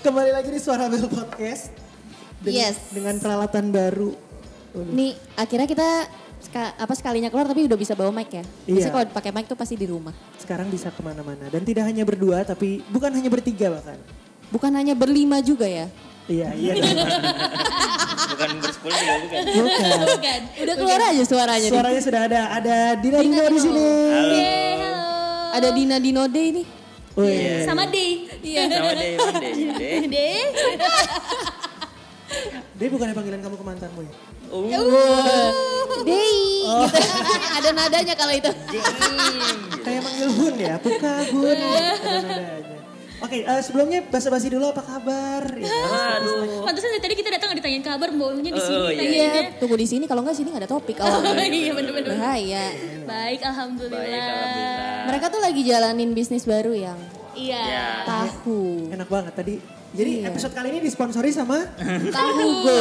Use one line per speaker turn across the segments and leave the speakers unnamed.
Kembali lagi di Suara Bel Podcast.
Yes.
Dengan peralatan baru.
Nih akhirnya kita seka- apa sekalinya keluar tapi udah bisa bawa mic ya. Biasanya
Iya.
kalau pakai mic tuh pasti di rumah.
Sekarang bisa kemana-mana. Dan tidak hanya berdua, tapi bukan hanya bertiga bahkan.
Bukan hanya berlima juga ya.
Iya, iya. dong.
bukan bersepuluh juga bukan.
bukan.
Bukan. Udah keluar aja suaranya. nih.
Suaranya sudah ada. Ada Dina Dino di
Dino.
sini.
Halo.
Ada Dina Dinode ini.
Wih.
Sama D. Iya.
Nama Day, Day, Day.
D.
Dia bukan panggilan kamu ke mantanmu ya?
Uh,
Dei. Gitu. Ada nadanya kalau itu.
Kayak manggil Hun ya? Buka Hun.
Iya.
Ada nadanya. Oke, eh, sebelumnya basa-basi dulu apa kabar? Ya.
Aduh.
Pantesan dari tadi kita datang nggak ditanyain kabar, maunya di sini.
Oh, iya.
tanyainnya.
Iya, tunggu di sini kalau enggak sini nggak ada topik awalnya.
Iya bener-bener.
Bahaya.
Baik, alhamdulillah.
Baik, alhamdulillah.
Mereka tuh lagi jalanin bisnis baru yang
Iya.
Ya.
tahu.
Enak banget tadi. Jadi
Iya.
episode kali ini disponsori sama
Tahu go.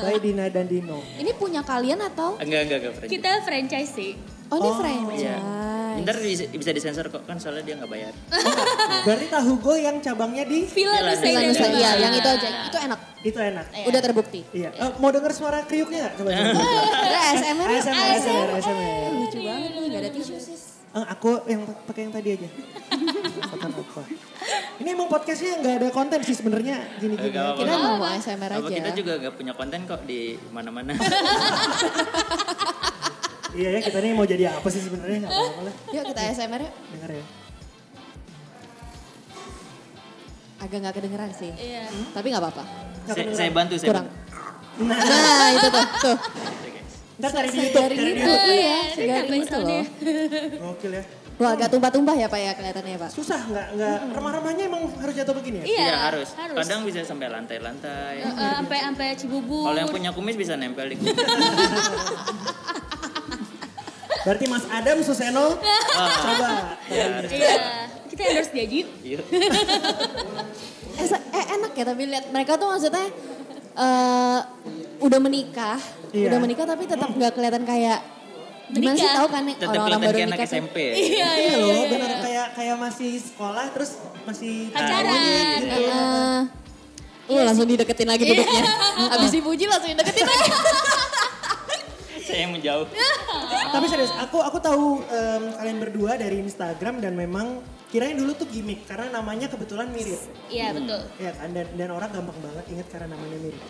by Dina dan Dino.
Ini punya kalian atau?
Enggak, enggak, enggak. Fred.
Kita franchise sih.
Oh, ini
Oh,
Iya.
franchise.
Ntar bisa, bisa disensor kok kan soalnya dia nggak bayar.
Berarti tahu go yang cabangnya di
Villa
Villa
Nusa
Nusa
Iya,
Indah.
iya, yang itu aja. Itu enak.
itu enak.
Udah terbukti.
Iya. Eh, mau denger suara kriuknya nggak? Coba. coba.
Ada ASMR.
ASMR, ASMR, ASMR.
Lucu banget nih, gak ada tisu sis.
Eh, aku yang pakai yang tadi aja. Makan apa? Ini emang podcastnya nggak ada konten sih sebenarnya gini-gini.
Nggak apa-apa.
Kita mau ASMR
Apa
aja.
kita juga nggak punya konten kok di mana-mana.
Iya ya kita ini mau jadi apa sih sebenarnya nggak apa-apa lah.
Yuk kita ASMR yuk.
Dengar ya.
Agak gak kedengeran sih.
Iya.
Tapi gak apa-apa.
Nggak
saya,
kedengeran.
saya bantu, saya
Kurang.
bantu.
Nah,
Nah itu tuh. tuh.
Oke, guys.
ntar cari di YouTube.
Segari
cari di
gitu.
YouTube.
Iya,
Ini
segari
tambahin
gitu
soundnya.
loh.
Gokil ya.
Wah agak tumpah-tumpah ya Pak ya kelihatannya Pak.
Susah nggak nggak remah-remahnya emang harus jatuh begini ya?
Iya,
Iya harus.
harus.
Kadang bisa sampai lantai-lantai.
Eh, eh, Sampai sampai Cibubur.
Kalau yang punya kumis bisa nempel di kumis.
Berarti Mas Adam Suseno coba.
Ah. Iya, harus.
Iya. Kita endorse dia aja yuk.
Yuk.
Eh, se- eh, enak ya tapi lihat mereka tuh maksudnya eh, udah menikah,
Iya.
udah menikah tapi tetap nggak kelihatan kayak gimana sih
Menikah.
tahu kan nih
Tetap
orang-orang
kelihatan
baru
kayak anak
nikah. tuh.
SMP.
Iya,
Iya
iya,
loh,
iya.
benar kayak kayak masih sekolah terus masih
Ah,
Pacaran.
iya.
Iya. Heeh. Wah, Uh, langsung dideketin lagi duduknya. Abis dipuji langsung dideketin lagi.
Saya yang menjauh. Oh,
Tapi serius, aku aku tahu em, kalian berdua dari Instagram dan memang kirain dulu tuh gimmick karena namanya kebetulan mirip.
Iya, betul.
Ya kan dan, dan orang gampang banget ingat karena namanya mirip.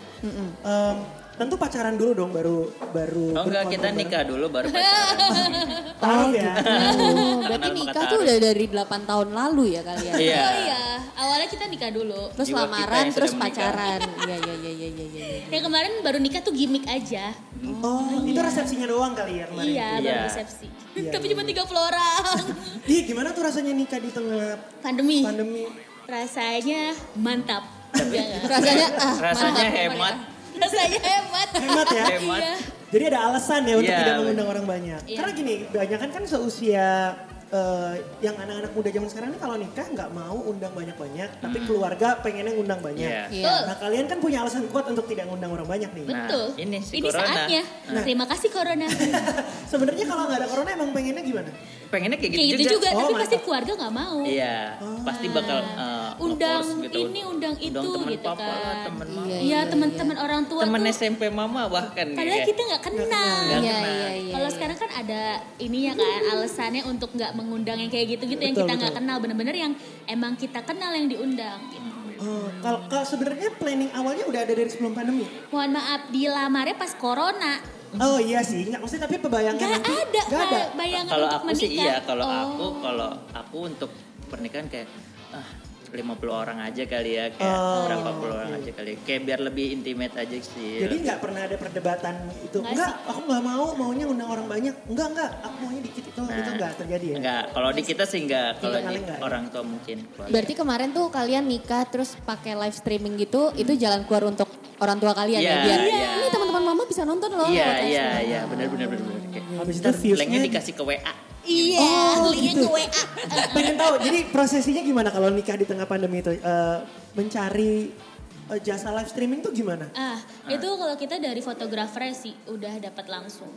Em, tentu pacaran dulu dong baru baru
Oh enggak, kita
berkontor
nikah dulu baru
Iya.
pacaran.
bareng. Tahu ya.
gitu.
Oh, berarti
Kenal maka
nikah tuh
taruh.
udah dari 8 tahun lalu ya kalian.
Iya.
Oh iya, awalnya kita nikah dulu.
Terus
Jiwa kita
lamaran,
yang
terus
sudah menikah.
pacaran. Iya, iya, iya, iya, iya. iya.
Yang kemarin baru nikah tuh gimmick aja.
Oh, itu resepsinya doang kali ya kemarin.
Iya,
Iya.
baru resepsi.
Iya,
Tapi cuma 30 orang.
Iya, gimana tuh rasanya nikah di tengah
Pandemi.
pandemi?
Rasanya mantap. Iya nggak?
Rasanya ah,
Rasanya hemat.
iya. Rasanya hebat.
Hemat ya.
Hemat.
Jadi ada alasan ya untuk
Iya,
tidak mengundang orang banyak.
Iya.
Karena gini, banyak kan seusia eh, yang anak-anak muda zaman sekarang ini kalau nikah nggak mau undang banyak-banyak, tapi
Hmm.
keluarga pengennya ngundang banyak.
Iya.
Iya.
Nah kalian kan punya alasan kuat untuk tidak ngundang orang banyak nih.
Nah,
Betul.
ini si
ini
corona.
saatnya.
Nah.
Terima kasih corona.
Sebenarnya kalau nggak ada corona emang pengennya gimana?
Pengennya kayak gitu,
Kayak gitu juga,
Oh,
tapi
mantap.
pasti keluarga nggak mau.
Iya, pasti bakal eh,
Undang
nge-force gitu.
ini, undang itu
temen
gitu
papa,
kan.
Temen mama,
Iya,
Iya, teman-teman orang tua
temen
tuh.
SMP mama bahkan ya.
Padahal
kayak.
kita nggak kenal.
iya. Nggak
Iya,
kenal.
iya, iya.
Kalau sekarang kan ada ininya kan alasannya untuk nggak mengundang yang kayak gitu-gitu yang
Betul,
kita nggak
betul.
kenal bener-bener yang emang kita kenal yang diundang. Gitu.
Oh, kalau kalau sebenarnya planning awalnya udah ada dari sebelum pandemi.
Mohon maaf dilamarnya pas corona.
Oh iya sih, nggak maksudnya tapi pebayangkan
Gak
nanti
ada,
nggak ada.
Pak, bayangan
Kalau
untuk
aku
menikah.
sih iya, kalau
Oh.
aku kalau aku untuk pernikahan kayak ah 50 orang aja kali ya, kayak
Oh,
berapa puluh orang aja kali. Kayak biar lebih intimate aja sih.
Jadi nggak pernah ada perdebatan itu.
Nggak
Enggak, aku nggak mau, maunya undang orang banyak. Enggak, enggak, aku maunya dikit itu itu
Nah.
nggak terjadi ya.
Enggak, kalau di kita sih enggak, kalau
Kita
di
nggak.
orang tua mungkin.
Berarti kemarin tuh kalian nikah terus pakai live streaming gitu, itu jalan keluar untuk orang tua kalian
Iya,
ya biar
iya.
ini teman-teman mama bisa nonton loh.
Iya,
lewat
iya,
Instagram.
iya, benar benar benar benar. Kayak
Habis itu
terus linknya
views-nya
dikasih ke WA.
Iya,
Oh,
linknya
gitu.
ke
Ah.
WA.
Pengen tahu, jadi prosesinya gimana kalau nikah di tengah pandemi itu? Eh, mencari eh, jasa live streaming tuh gimana?
Ah, itu kalau kita dari fotografer sih udah dapat langsung.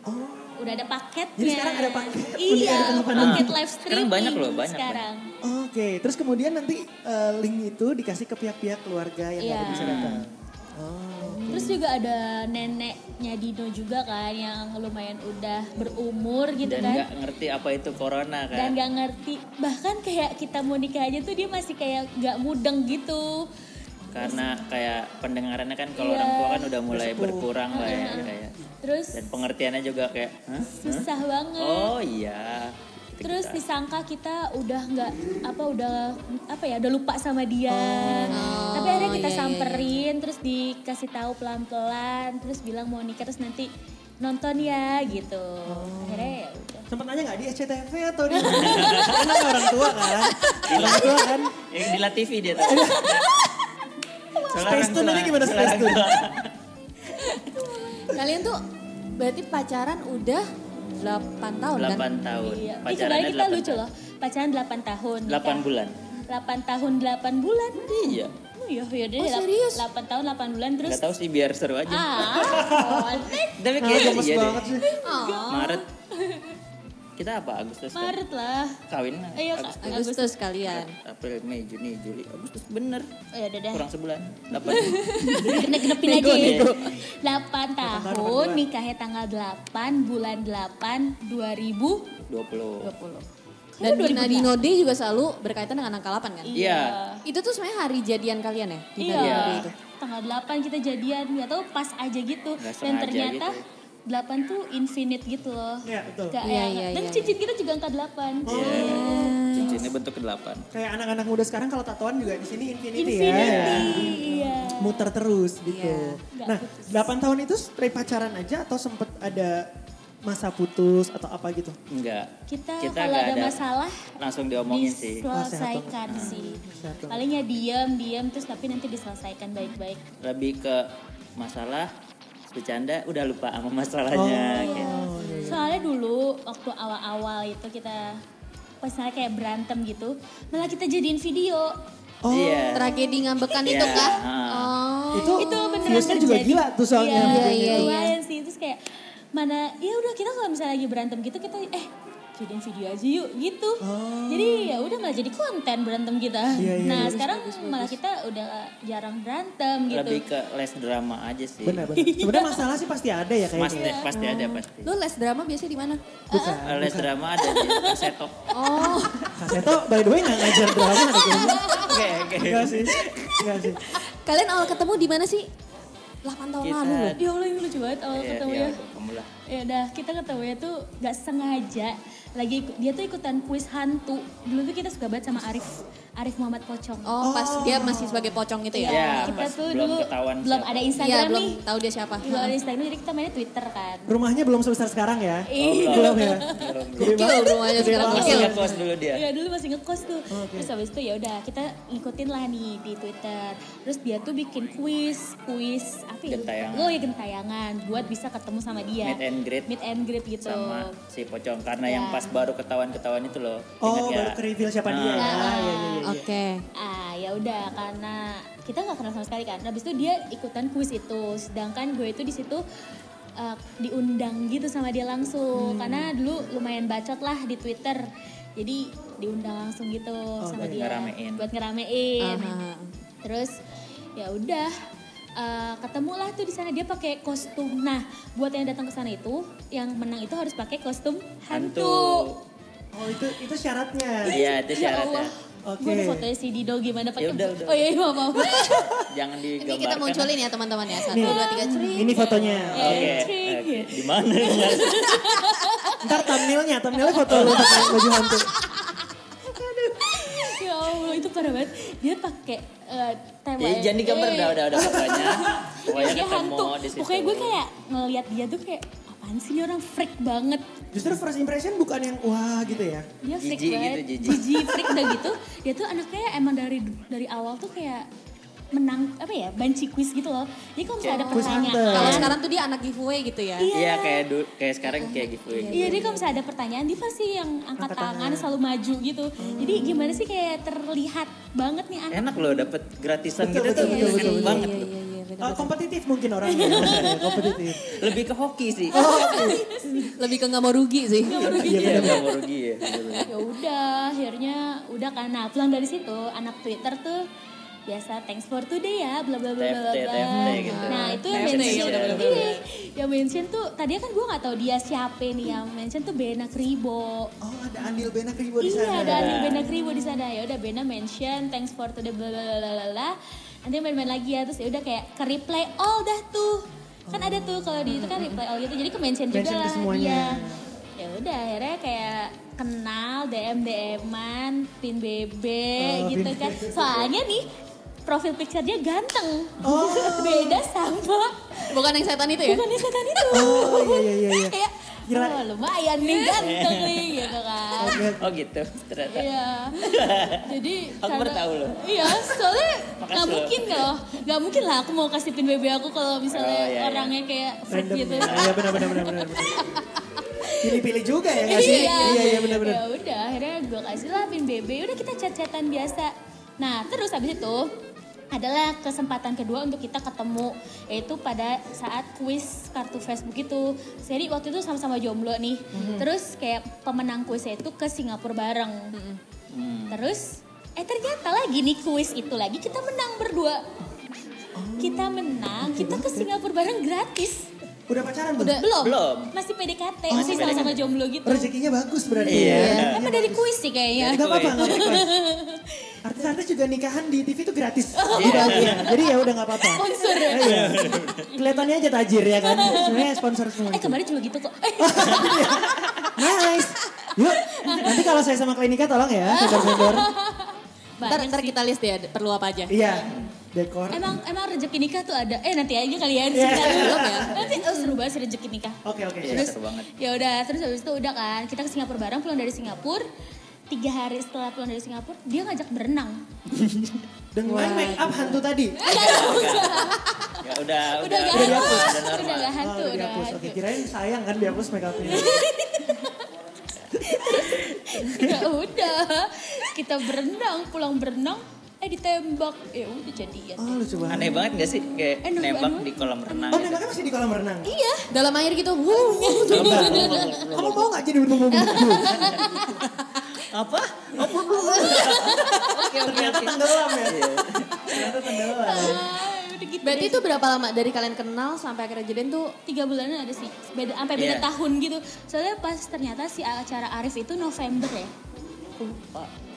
Oh,
Udah ada paketnya.
Jadi sekarang ada paket, udah
Iya,
ada tanggapan.
paket
Ah.
live
Sekarang
streaming.
banyak loh, banyak,
Sekarang.
oke. terus kemudian nanti eh, link itu dikasih ke pihak-pihak keluarga yang nggak
Iya.
bisa datang.
Hmm.
Oh,
Terus juga ada neneknya Dino juga kan yang lumayan udah berumur gitu
Dan
kan.
nggak ngerti apa itu corona kan.
dan gak ngerti bahkan kayak kita mau nikah aja tuh dia masih kayak gak mudeng gitu
Karena kayak pendengarannya kan kalau
Iya.
orang tua kan udah mulai
Bersepuh.
berkurang lah ya kayak.
terus
Dan pengertiannya juga kayak, "Hah?
susah banget
Oh iya. Gitu
terus
kita.
disangka kita udah nggak apa udah apa ya udah lupa sama dia tapi akhirnya
iya,
kita
iya,
samperin terus dikasih tahu pelan pelan terus bilang mau nikah terus nanti nonton ya gitu
Oh.
akhirnya ya udah
sempat nanya nggak di SCTV atau di Karena orang tua kan, orang tua kan.
yang di La TV dia tadi. Soalnya
Space
orang
Tune
tua.
ini gimana
Soalnya
Space Tune?
orang tua.
Kalian tuh berarti pacaran udah 8 tahun kan?
8 tahun.
iya Ih,
Pacarannya
kebayang kita
8
lucu
tahun.
loh pacaran 8 tahun
8 bulan.
8 tahun 8 bulan
Iya.
Oh iya, iya deh.
Oh,
lap-
serius?
8 tahun 8 bulan terus.
Gak tau sih biar seru aja.
Ah,
Tapi
Ah,
kayaknya
gemes
iya deh.
banget sih.
Maret. Kita apa Agustus? kan?
Maret lah.
Kawin.
Ayo, Kak.
Agustus.
Agustus kalian.
April, Mei, Juni, Juli, Agustus bener.
Oh, ya udah deh.
Kurang sebulan. 8.
Genep-genepin aja.
Nego, nego.
8 tahun, nikahnya tanggal 8 bulan 8 2020.
20.
Dan
Kayaknya
di
2000
Nadino Day juga selalu berkaitan dengan angka 8 kan?
Iya.
Itu tuh sebenarnya hari jadian kalian ya? Di
Iya.
Nadino Day itu?
Tanggal 8 kita jadian, nggak tahu pas aja gitu.
Nggak
Dan
sengaja
ternyata
gitu.
8 tuh infinite gitu loh.
Iya, betul.
Nggak
Iya,
yang-
iya,
Dan
iya.
cincin kita juga angka 8.
Iya. Cincinnya bentuk ke-8.
Kayak anak-anak muda sekarang kalau tatoan juga di sini infinity,
Infinity.
ya.
Iya.
Muter terus gitu.
Nggak
Nah, 8 tahun itu straight pacaran aja atau sempet ada masa putus atau apa gitu?
Enggak.
Kita,
Kita
kalau
nggak
ada
ada-
masalah
Langsung diomongin sih.
diselesaikan sih.
Sehat banget.
Palingnya diam, diam terus tapi nanti diselesaikan baik-baik.
Lebih ke masalah, bercanda, udah lupa sama masalahnya. gitu.
Iya,
Soalnya dulu waktu awal-awal itu kita pas misalnya kayak berantem gitu, malah kita jadiin video.
Oh,
Iya.
Tragedi ngambekan
Iya,
itu kah?
ah.
Oh.
itu,
itu beneran
viewsnya juga
terjadi.
gila tuh soalnya.
Iya,
Iya, iya,
iya,
iya.
sih terus kayak mana ya udah kita kalau misalnya lagi berantem gitu kita eh jadiin video aja yuk gitu.
Oh.
Jadi ya udah malah jadi konten berantem kita.
Iya, iya,
nah,
bagus,
sekarang malah kita udah jarang berantem gitu.
Lebih ke les drama aja sih.
Benar-benar. Sebenarnya masalah sih pasti ada ya
Pasti,
kayaknya.
pasti ada pasti.
Lu les drama biasanya di mana?
Bukan.
Eh, les drama ada di Kasetok.
Oh,
Kaseto by the way gak ngajar drama ada kayaknya.
Oke, oke.
Enggak sih. Enggak sih.
kalian awal ketemu di mana sih? 8 tahun
Kita-
lalu loh.
Ya Allah ini lucu banget awal
Iya,
ketemu
iya,
ya.
kamu lah.
Ya udah kita ketemunya tuh gak sengaja lagi ikut- dia tuh ikutan kuis hantu. Dulu tuh kita suka banget sama Arif Arif Muhammad Pocong.
Oh, pas dia masih sebagai pocong itu ya?
Iya.
kita
pas
tuh
belum
dulu
ketahuan
belum
siapa.
ada
Iya,
Instagram
belum
nih.
tahu dia siapa.
Belum ada Instagram jadi kita mainnya Twitter kan.
Rumahnya belum sebesar sekarang ya?
Oh,
Iya.
Belum ya?
Gokil rumahnya sekarang,
Masih
gokil.
ngekos dulu dia.
Iya dulu masih ngekos tuh.
Oh, oke.
Terus habis itu ya udah kita ngikutin lah nih di Twitter. Terus dia tuh bikin kuis, kuis apa ya?
Gentayangan.
Oh ya gentayangan buat bisa ketemu sama dia.
Meet and greet.
Meet and greet gitu.
sama si pocong karena yang
Ya.
pas baru ketahuan-ketahuan itu loh.
Oh,
Ingat ya?
baru ke reveal siapa dia. ya?
Nah.
Iya, iya, iya.
Oke.
Ah ya udah karena kita nggak kenal sama sekali kan. Habis itu dia ikutan kuis itu, sedangkan gue itu di situ eh, diundang gitu sama dia langsung
Hmm.
karena dulu lumayan bacot lah di Twitter. Jadi diundang langsung gitu
Oh,
sama
buat
dia
ngeramein. Ah,
buat ngeramein.
Aha.
Terus ya udah eh, ketemulah tuh di sana dia pakai kostum. Nah, buat yang datang ke sana itu yang menang itu harus pakai kostum hantu.
Hantu.
Oh, itu itu syaratnya.
Iya, itu
Ya
syaratnya.
Allah.
Oke.
Gue ada fotonya si Dido gimana
Ya
pakai.
udah, udah.
Oh iya, iya, maaf, maaf.
Jangan
Ini
digambarkan.
kita munculin ya teman-teman ya. Satu,
Iya.
dua, tiga, ceri.
Ini fotonya.
Oke. oke. Di mana?
Ntar thumbnailnya, thumbnailnya foto lu pakai baju hantu.
ya Allah, itu parah banget. Dia pakai eh, tema. Eh,
ya, jangan digambar
Iya,
udah udah udah pokoknya. Pokoknya
Dia
ketemu
iya, hantu.
di situ.
Pokoknya gue kayak ngelihat dia tuh kayak apaan sih ini orang freak banget.
Justru first impression bukan yang wah gitu ya.
Dia freak
Jijik
banget.
gitu, jijik.
Jijik, freak udah gitu. Dia tuh anaknya emang dari dari awal tuh kayak menang apa ya banci kuis gitu loh. Jadi kalau misalnya ada
Kuis hunter.
pertanyaan,
Kalau sekarang tuh dia anak giveaway gitu ya.
Iya, kayak du- kayak sekarang kayak gitu.
Iya, jadi kalau misalnya ada pertanyaan, dia pasti yang angkat,
Angkat
tangan,
tangan.
selalu maju gitu. Jadi gimana sih kayak terlihat banget nih anak.
Enak loh dapet gratisan
Betul,
gitu
betul,
tuh.
betul,
Enak
betul, betul.
banget.
Iya, iya, iya,
Eh,
nggak
kompetitif mungkin orangnya. maksudnya, kompetitif.
Lebih ke hoki sih.
Oh,
Lebih ke nggak mau rugi sih.
Iya, nggak mau rugi ya. bener-bener.
ya udah akhirnya udah kan nah pulang dari situ anak Twitter tuh biasa thanks for today ya bla bla bla bla
TFT,
bla
TFT gitu.
nah itu yang
TFT,
mention
ya, udah, udah,
Iya, yang mention tuh tadinya kan gue nggak tahu dia siapa nih yang mention tuh Bena Kribo
Oh ada Andil Bena Kribo di
Iya,
sana.
ada Andil Bena Kribo di sana. Ya udah Bena mention thanks for today bla bla bla bla bla. Nanti main-main lagi ya terus ya udah kayak ke reply all dah tuh. Kan ada tuh kalau di itu kan reply all gitu. Jadi ke mention
Oh.
juga
Mention ke
lah
semuanya.
dia. Ya udah akhirnya kayak kenal DM DM-an, pin BB
Oh,
gitu
pin
kan. Soalnya nih profil picture dia ganteng.
Oh.
Beda sama
Bukan yang setan itu ya?
Bukan yang setan itu.
Oh, iya, iya, iya, iya.
Kayak,
Kira-
"Wah, lumayan nih ganteng nih gitu kan.
Oke.
Oh gitu, ternyata.
Iya. Jadi
Aku baru tahu loh.
Iya, soalnya
Makasih
nggak
loh.
mungkin loh. Nggak mungkin lah aku mau kasih pin BB aku kalau misalnya
Oh, iya, iya.
orangnya kayak freak
Random
gitu.
ya. Iya benar benar benar benar. benar. Pilih-pilih juga ya nggak sih? iya iya benar benar.
Ya udah, akhirnya gue kasih lah pin BB. Udah kita chat-chatan biasa. Nah, terus habis itu adalah kesempatan kedua untuk kita ketemu yaitu pada saat kuis kartu Facebook itu. Jadi waktu itu sama-sama jomblo nih.
Mm-hmm.
Terus kayak pemenang kuisnya itu ke Singapura bareng.
Mm-hmm.
Terus eh ternyata lagi nih kuis itu lagi kita menang berdua. Kita
Oh.
menang, kita ke Singapura bareng gratis.
Udah pacaran belum?
Udah.
Belum.
Belum.
Masih PDKT,
Oh.
masih sama-sama jomblo gitu.
Rezekinya bagus berarti.
Iya.
Emang dari kuis sih
Ya,
kayaknya.
gak apa-apa, gak apa-apa. Artis-artis juga nikahan di TV itu gratis. Dibagi. Jadi ya udah gak apa-apa.
Sponsor ya.
Iya. Kelihatannya aja tajir ya kan. Sebenarnya sponsor semua.
Eh
itu.
kemarin juga gitu kok. Eh,
Nice. Yuk, nanti kalau saya sama klinika tolong ya, vendor-vendor.
Ntar,
banyak
ntar
sih.
kita list ya perlu apa aja.
Iya, dekor.
Emang emang rezeki nikah tuh ada. Eh nanti aja kalian
Iya. Oh,
belum ya. Nanti oh, seru banget sih rezeki nikah.
Oke, oke.
Iya, seru banget.
Ya udah, terus habis itu udah kan kita ke Singapura bareng pulang dari Singapura. Tiga hari setelah pulang dari Singapura, dia ngajak berenang.
Dengan make up hantu tadi.
Ya udah,
Udah gak
udah
hantu,
dihapus.
udah normal.
udah gak hantu, Iya.
Oh,
udah
dihapus.
hantu.
Oke, kirain sayang kan dihapus make upnya.
ya udah, kita berenang, pulang berenang, eh ditembak, ya udah jadian.
Oh, lucu banget.
Aneh banget gak sih kayak
Eh, nembak
nembak
dulu.
di kolam renang
Oh,
gitu.
nembaknya masih di kolam renang.
Iya,
Dalam air gitu. wuh.
Kamu mau gak jadi untung untung
Apa? Apa? Oke,
Iya,
oke,
Ternyata
oke.
tenggelam ya. Ternyata tenggelam.
ah, udah gitu.
Berarti itu berapa lama dari kalian kenal sampai akhirnya jadian tuh?
tiga bulanan ada sih beda sampai beda
Iya.
tahun gitu soalnya pas ternyata si acara Arif itu November ya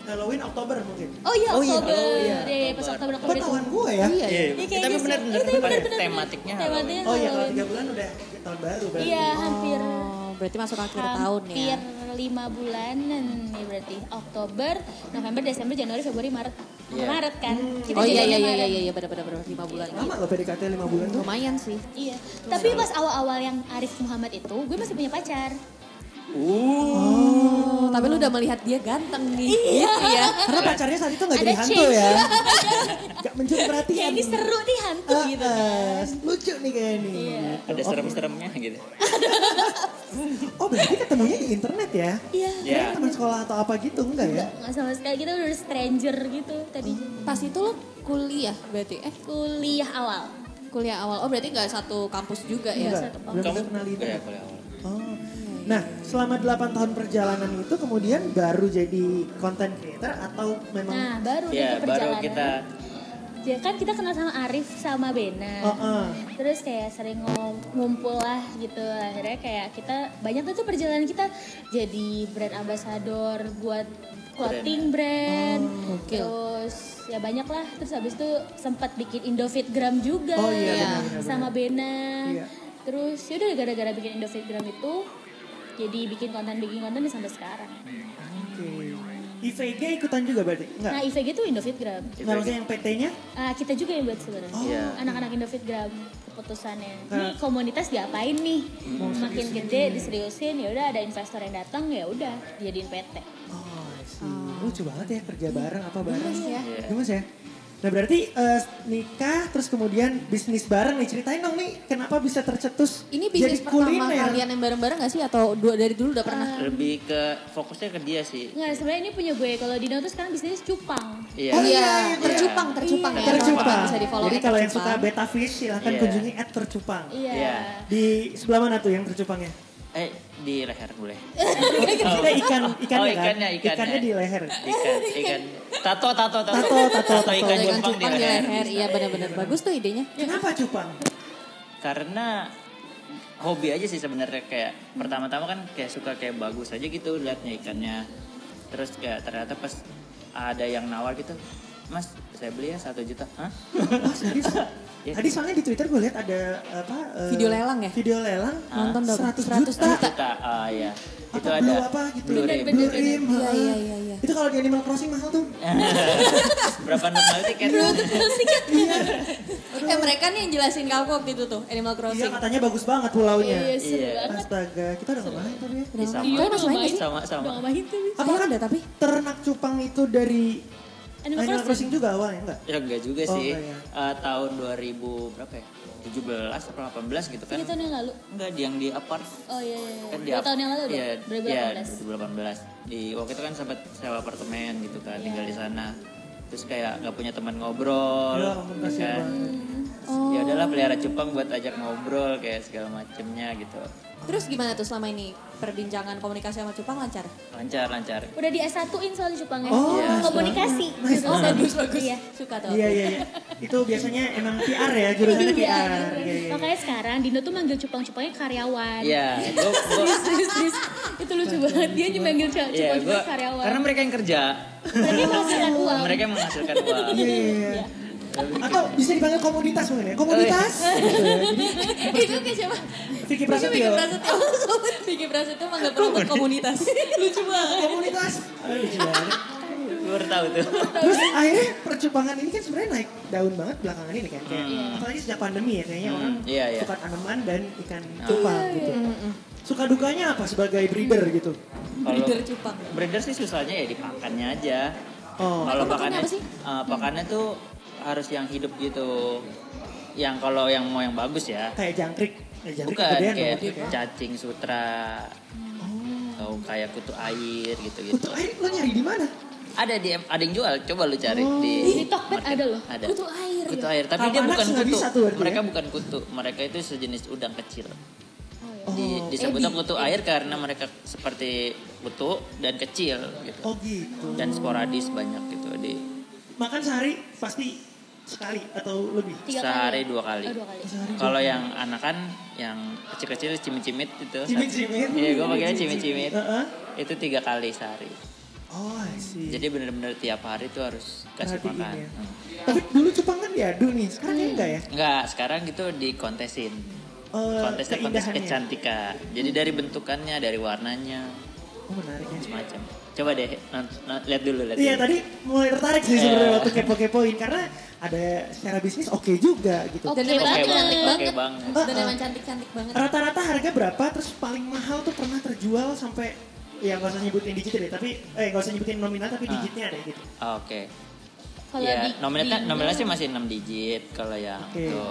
Halloween Oktober mungkin.
oh iya
Oh iya,
Oktober
oh iya,
Iya, iya, pas Oktober
Oktober.
Kok
Oktober itu
tahuan gue ya?
Iya.
Iya,
Iya, kayak
tapi
gitu.
benar benar
Iya, tapi bener, bener, bener.
tematiknya.
Tematiknya
Oh iya kalau
Halloween.
tiga bulan udah tahun baru berarti.
iya hampir
Oh, berarti masuk akhir tahun ya.
hampir Iya. lima bulanan ya berarti Oktober November Desember Januari Februari Maret
Iya.
Maret kan kita
Oh iya iya
jadinya
iya
Maret.
iya iya benar benar benar 5 bulan.
Lama loh PDKT lima bulan tuh.
Lumayan sih.
Iya. tapi pas awal-awal yang Arif Muhammad itu gue masih punya pacar
Uh,
Oh, tapi lu udah melihat dia ganteng nih.
Iya.
Gitu ya.
Karena pacarnya saat itu gak
Ada
jadi hantu
change.
ya. Gak mencuri perhatian.
kayak ini seru nih hantu
Ah,
gitu
ah,
kan
lucu nih kayaknya nih.
Iya.
ada serem-seremnya gitu.
Oh berarti ketemunya di internet ya?
iya
Iya.
Teman sekolah atau apa gitu enggak ya?
nggak sama sekali kita udah stranger gitu tadi
Pas itu lu kuliah berarti eh
kuliah awal
kuliah awal. Oh berarti nggak satu kampus juga
Iya,
ya?
Enggak. Belum
Kamu
pernah kenal di
ya,
internet.
kalau awal.
Oh. Nah, selama 8 tahun perjalanan itu kemudian baru jadi content creator atau memang
nah baru
Iya,
nih
baru
ke perjalanan
kita
Ya, kan kita kenal sama Arif sama Bena
Oh, oh.
terus kayak sering ngom- ngumpul lah gitu akhirnya kayak kita banyak tuh tuh perjalanan kita jadi brand ambassador buat clothing brand,
Oh,
gokil.
terus ya banyak lah terus habis itu sempat bikin Indofitgram juga
Oh, iya,
Iya.
benar, benar,
sama Bena
Iya.
terus ya udah gara-gara bikin Indofitgram itu jadi bikin konten bikin konten sampai sekarang
Oke. IVG ikutan juga berarti? Enggak.
nah IVG tuh Indofitgram
Enggak maksudnya yang PT-nya?
Ah, kita juga yang buat sebenarnya.
Iya.
Anak-anak Indofitgram keputusannya.
Oh.
Ini
Nah. Hmm.
komunitas diapain nih? Makin gede diseriusin ya udah ada investor yang datang ya udah jadiin PT.
Oh, I see. Lucu banget ya kerja bareng apa bareng.
Gemes ya.
Iya.
Gemes ya. Nah berarti eh, nikah terus kemudian bisnis bareng nih ceritain dong nih kenapa bisa tercetus
Ini bisnis pertama kalian yang bareng-bareng gak sih atau dua dari
Ah.
dulu udah pernah?
Lebih ke fokusnya ke dia sih.
Ya.
Nggak, sebenarnya ini punya gue. Kalau Dino tuh sekarang bisnis cupang.
Iya.
Oh
Iya,
iya, iya,
tercupang, tercupang.
Iya.
ya.
Tercupang.
Bisa di follow
Jadi
at
kalau yang suka
tercupang.
beta fish silahkan
Iya.
kunjungi at tercupang.
Iya.
Iya.
Di sebelah mana tuh yang tercupangnya?
Eh di leher boleh.
Kita ikan, ikannya,
Oh, ikannya,
kan?
ikannya.
di leher.
Ikan, ikan. Tato, tato, tato.
Tato, tato, tato. ya.
ikan
Ada ikan
cupang di leher.
Iya benar-benar bagus tuh idenya.
Kenapa cupang?
Karena hobi aja sih sebenarnya kayak pertama-tama kan kayak suka kayak bagus aja gitu liatnya ikannya. Terus kayak ternyata pas ada yang nawar gitu, Mas saya beli ya satu juta. Hah?
Oh, serius?
Iya.
Tadi soalnya di Twitter gue lihat ada apa? eh,
Video lelang ya?
Video lelang.
Nonton dong.
100
100
juta.
juta.
Juta, ah iya.
Apa
itu
blue
ada.
apa gitu?
Blue Rim.
Bener, bener,
Rim,
Iya,
heeh.
iya, iya, iya.
Itu kalau di Animal Crossing mahal tuh.
Iya, Berapa normal tiket?
Eh mereka nih yang jelasin ke aku waktu itu tuh Animal
Iya
Crossing.
katanya bagus banget pulaunya.
Iya, seru
Iya.
banget.
Astaga, kita udah nggak main tapi ya.
Udah
Sama.
ngomong. Kalian masih main gak sih?
Sama, sama.
Udah ngapain tuh. Bi.
Saya ada tapi.
ternak cupang itu dari
Animal
Animal, Crossing. juga awalnya enggak?
Ya enggak juga
Oh,
sih.
enggak ya.
Eh, tahun 2000 berapa ya? 17 atau 18 gitu kan.
Ini tahun yang lalu.
Enggak, di yang di apart.
Oh iya, iya,
Kan
iya. Dua tahun yang lalu
Iya,
dong,
iya,
2018.
2018. Di waktu itu kan sempat sewa apartemen gitu kan,
Iya.
tinggal di sana. Terus kayak nggak punya teman ngobrol,
Ya ampun,
gitu
kasihan
kan.
banget.
Hmm.
Ya
Oh.
udahlah pelihara cupang buat ajak ngobrol kayak segala macemnya gitu.
Terus gimana tuh selama ini perbincangan komunikasi sama Cupang lancar?
Lancar lancar.
Udah di S1-in soalnya Jepangnya.
Oh,
Iya. nice
Komunikasi.
banget. Nice
Oh,
banget.
bagus, bagus. Iya.
Suka tuh.
Iya, iya, iya. Itu biasanya emang PR ya, jurusannya PR. Iya, iya.
Makanya sekarang Dino tuh manggil cupang-cupangnya karyawan.
Iya, gua, gua,
Serius, serius, serius. Itu lucu banget. Dia yang manggil cu-
iya, gua,
cupang-cupang karyawan.
karena mereka yang kerja,
ya, mereka yang menghasilkan uang.
mereka yang menghasilkan uang.
Iya, iya, iya. Atau bisa dipanggil komoditas mungkin ya? Komoditas? Gitu ya.
itu kayak siapa?
Vicky
Itu Vicky
Prasetyo.
Prasetyo. Vicky Prasetyo manggil penuntut komunitas. Lucu banget.
Komunitas. Aduh, lucu banget.
Gue baru tahu tuh.
Terus akhirnya percubangan ini kan sebenarnya naik daun banget belakangan ini kan. Kayak, Apalagi sejak pandemi ya kayaknya
Hmm,
orang
iya, Hmm. iya.
suka tanaman dan ikan cupang gitu. Suka dukanya apa sebagai breeder gitu?
Kalau-
Leader Cupang.
Breeder sih susahnya ya di pakannya aja.
Oh.
Kalau
Pakan
pakannya,
apa sih?
eh, pakannya tuh harus yang hidup gitu. Yang kalau yang mau yang bagus ya.
Kayak jangkrik. Eh, jangkrik
Bukan
kegedean
kayak
dong. ya?
cacing sutra atau kayak kutu air gitu-gitu.
Untuk air lo nyari di mana?
Ada di ada yang jual, coba lu cari di
Di Tokped
market.
ada loh.
Ada.
Kutu air.
Kutu
ya?
air, tapi
Kalau
dia
anak
bukan
nggak
kutu.
bisa tuh berarti
mereka
ya?
bukan kutu, mereka itu sejenis udang kecil.
Oh,
Di, disebutnya kutu air karena mereka seperti kutu dan kecil gitu.
oh gitu.
dan sporadis banyak gitu di
Makan sehari pasti sekali atau lebih.
Tiga
sehari
kali.
dua kali.
Oh, dua kali.
Kalau yang anakan yang kecil-kecil cimit-cimit itu.
Cimit-cimit.
Iya, gue pakainya cimit-cimit.
Heeh.
Itu tiga kali sehari.
Oh, I see.
Jadi bener-bener tiap hari tuh harus kasih
Perhatiin
makan.
ya.
Hmm.
Tapi dulu Jepang kan diadu nih, sekarang kayaknya enggak ya?
Enggak, sekarang gitu dikontesin.
Eh,
Kontesnya kontes
keindahannya.
kecantikan. Jadi dari bentukannya, dari warnanya,
Oh menarik ya.
macam. Coba deh, non- non- lihat dulu, lihat
Iya
dulu.
tadi mulai tertarik
Eh.
sih sebenarnya waktu kepo-kepoin karena ada secara bisnis oke juga gitu.
Dan
Oke
emang
Oke
cantik
banget, oke
banget.
banget.
Dan emang cantik-cantik banget.
Rata-rata harga berapa terus paling mahal tuh pernah terjual sampai ya nggak usah nyebutin digit deh tapi eh nggak usah nyebutin nominal tapi
Ah.
digitnya deh gitu.
Oke.
Kalau
Iya,
di-
nominal kan
di-
nominal sih masih 6 digit kalau yang
Oke.
itu.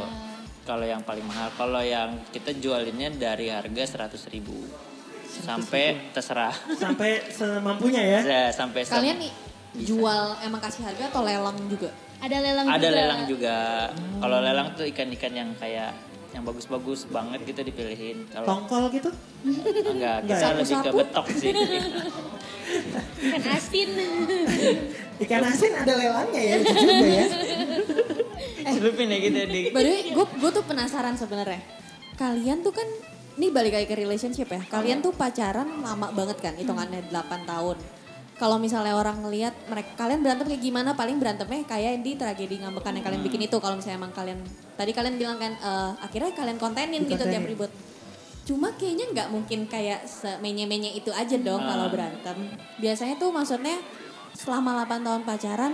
Kalau yang paling mahal, kalau yang kita jualinnya dari harga 100.000 sampai terserah.
Sampai semampunya ya.
Ya, sampai sem-
Kalian nih jual emang kasih harga atau lelang juga?
Ada lelang
ada
juga.
lelang juga.
Hmm.
Kalau lelang tuh ikan-ikan yang kayak yang bagus-bagus banget gitu dipilihin. Kalau
Tongkol gitu.
enggak,
Enggak
kita
ya?
lebih ke
Sapu-sapu?
betok sih. Iya.
Ikan asin.
Ikan asin ada lelangnya ya lucu juga ya.
Celupin ya gitu di
By the way, gue gue tuh penasaran sebenarnya. Kalian tuh kan ini balik lagi ke relationship ya. Kalian tuh pacaran lama banget kan, hitungannya 8 tahun. Kalau misalnya orang ngelihat mereka kalian berantem kayak gimana, paling berantemnya kayak di tragedi ngambekan yang kalian bikin itu kalau misalnya emang kalian tadi kalian bilang kan eh, akhirnya kalian kontenin gitu tiap
Dikontenin.
ribut. Cuma kayaknya nggak mungkin kayak semenye-menye itu aja dong kalau berantem. Biasanya tuh maksudnya selama 8 tahun pacaran